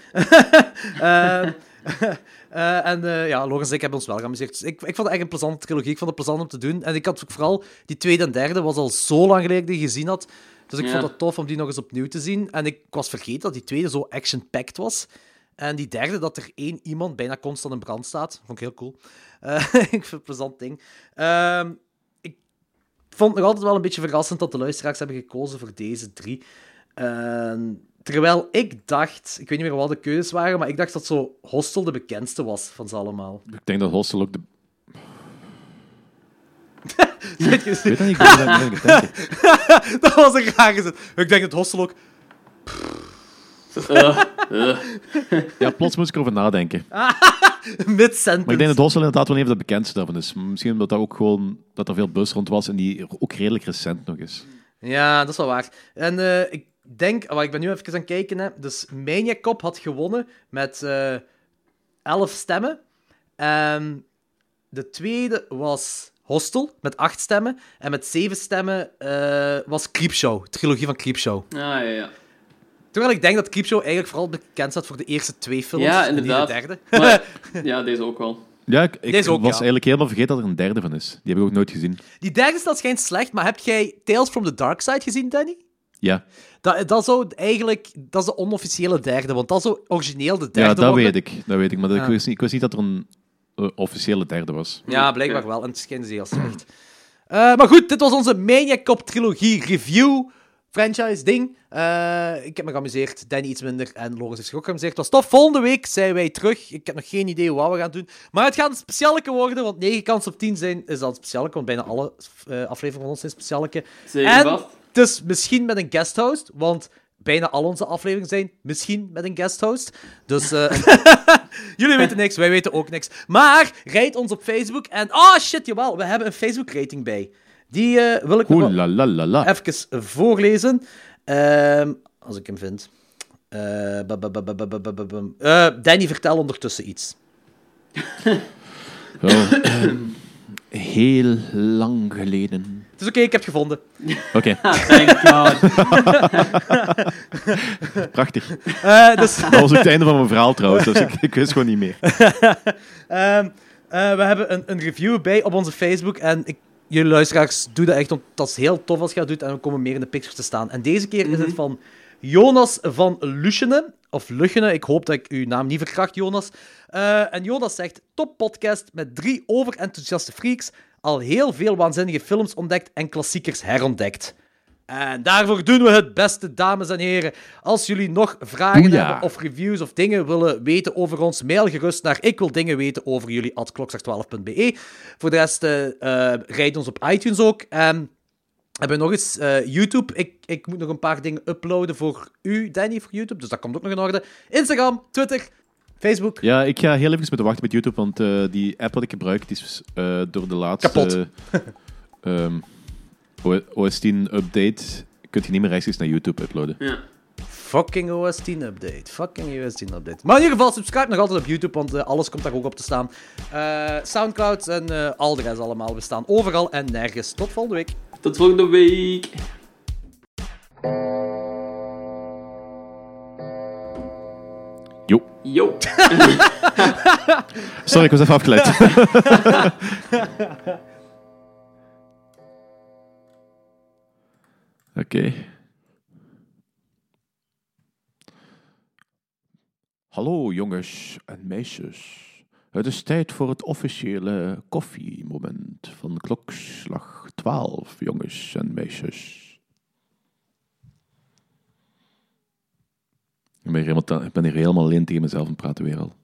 Eh, eh, en eh, ja, Lorenz en ik hebben ons wel geamuseerd. Dus ik, ik vond het echt een plezante trilogie. Ik vond het plezant om te doen. En ik had ook vooral... Die tweede en derde was al zo lang geleden dat ik die gezien had. Dus ik Ja. vond het tof om die nog eens opnieuw te zien. En ik was vergeten dat die tweede zo action-packed was. En die derde, dat er één iemand bijna constant in brand staat. Vond ik heel cool. Eh, ik vind het een plezant ding. Ehm, ik vond het nog altijd wel een beetje verrassend dat de luisteraars hebben gekozen voor deze drie. En Ehm, terwijl ik dacht, ik weet niet meer wat de keuzes waren, maar ik dacht dat zo Hostel de bekendste was van ze allemaal. Ik denk dat Hostel ook de... Weet je, Ik weet dat niet, ik ben er aan het denken. dat was een raar gezet. Ik denk dat Hostel ook... Ja, plots moest ik erover nadenken. Mid-sentence. Maar ik denk dat Hostel inderdaad wel een van de bekendste daarvan is. Misschien omdat dat ook gewoon, dat er veel bus rond was en die ook redelijk recent nog is. Ja, dat is wel waar. En eh, ik denk, ah, wel, ik ben nu even aan het kijken. Hè. Dus Maniacop had gewonnen met eh 11 stemmen. En de tweede was Hostel met 8 stemmen. En met 7 stemmen eh, was Creepshow, trilogie van Creepshow. Ah, Ja, ja, ja. Terwijl ik denk dat Creepshow eigenlijk vooral bekend staat voor de eerste twee films. Ja, en niet inderdaad. de derde. Maar, ja, deze ook wel. Ja, ik, ik Deze ook, was ja. eigenlijk helemaal vergeten dat er een derde van is. Die heb ik ook nooit gezien. Die derde staat schijnt slecht, maar heb jij Tales from the Dark Side gezien, Danny? Ja, Dat, dat zou eigenlijk... Dat is de onofficiële derde, want dat zou origineel de derde ja dat worden. weet ik. Dat weet ik, maar dat- Ja. ik, wist niet, ik wist niet dat er een eh, officiële derde was. Ja, blijkbaar wel. En het schijnt dus heel slecht. Eh, maar goed, dit was onze Maniac Cop trilogie review. Franchise ding. Eh, ik heb me geamuseerd. Danny iets minder. En Lorenz heeft zich ook geamuseerd. Het was tof. Volgende week zijn wij terug. Ik heb nog geen idee wat we gaan doen. Maar het gaat een specialeke worden. Want 9 kans op 10 zijn is al een specialeke. Want bijna alle eh, afleveringen van ons zijn specialeke. Zeker en vast. dus misschien met een guest host. Want bijna al onze afleveringen zijn misschien met een guest host. Dus... eh, Jullie weten niks, wij weten ook niks. Maar rijd ons op Facebook en... Oh shit, jawel, we hebben een Facebook-rating bij. Die eh, wil ik nog Oeh wel la la la la. even voorlezen. Ehm, als ik hem vind. Eh, ba- ba- ba- ba- ba- ba- ba- ba- bum. Eh, Danny, vertel ondertussen iets. Oh, ehm, heel lang geleden. Het is oké, ik heb het gevonden. Oké, Ah, Thank God. prachtig. Eh, dus... Dat was ook het einde van mijn verhaal trouwens, dus ik, ik wist gewoon niet meer. Ehm, eh, we hebben een, een review bij op onze Facebook. En ik, jullie luisteraars, doe dat echt, want dat is heel tof als je dat doet. En we komen meer in de pictures te staan. En deze keer is het van Jonas van Luchenen. Of Luchenen, ik hoop dat ik uw naam niet verkracht, Jonas. Eh, en Jonas zegt, top podcast met drie overenthousiaste freaks. Al heel veel waanzinnige films ontdekt en klassiekers herontdekt. En daarvoor doen we het, beste dames en heren. Als jullie nog vragen Boeia. hebben of reviews of dingen willen weten over ons, mail gerust naar ik wil dingen weten over jullie at klokslag12.be. Voor de rest, eh eh, rijd ons op iTunes ook. En hebben we nog eens eh, YouTube. Ik, ik moet nog een paar dingen uploaden voor u, Danny, voor YouTube. Dus dat komt ook nog in orde. Instagram, Twitter, Facebook. Ja, ik ga heel even moeten wachten met YouTube, want eh, die app wat ik gebruik, die is eh, door de laatste... Kapot. ehm, O- OS 10 update, kun je niet meer rechtstreeks naar YouTube uploaden. Ja. Fucking OS 10 update. Fucking OS 10 update. Maar in ieder geval, subscribe nog altijd op YouTube, want eh, alles komt daar ook op te staan. Eh, Soundcloud en eh, al de rest allemaal. We staan overal en nergens. Tot volgende week. Tot volgende week. Jo. Yo. Sorry, ik was even afgeleid. Oké. Hallo jongens en meisjes. Het is tijd voor het officiële koffiemoment van klokslag 12, jongens en meisjes. Ik ben hier helemaal, ik ben hier helemaal alleen tegen mezelf aan het praten weer al.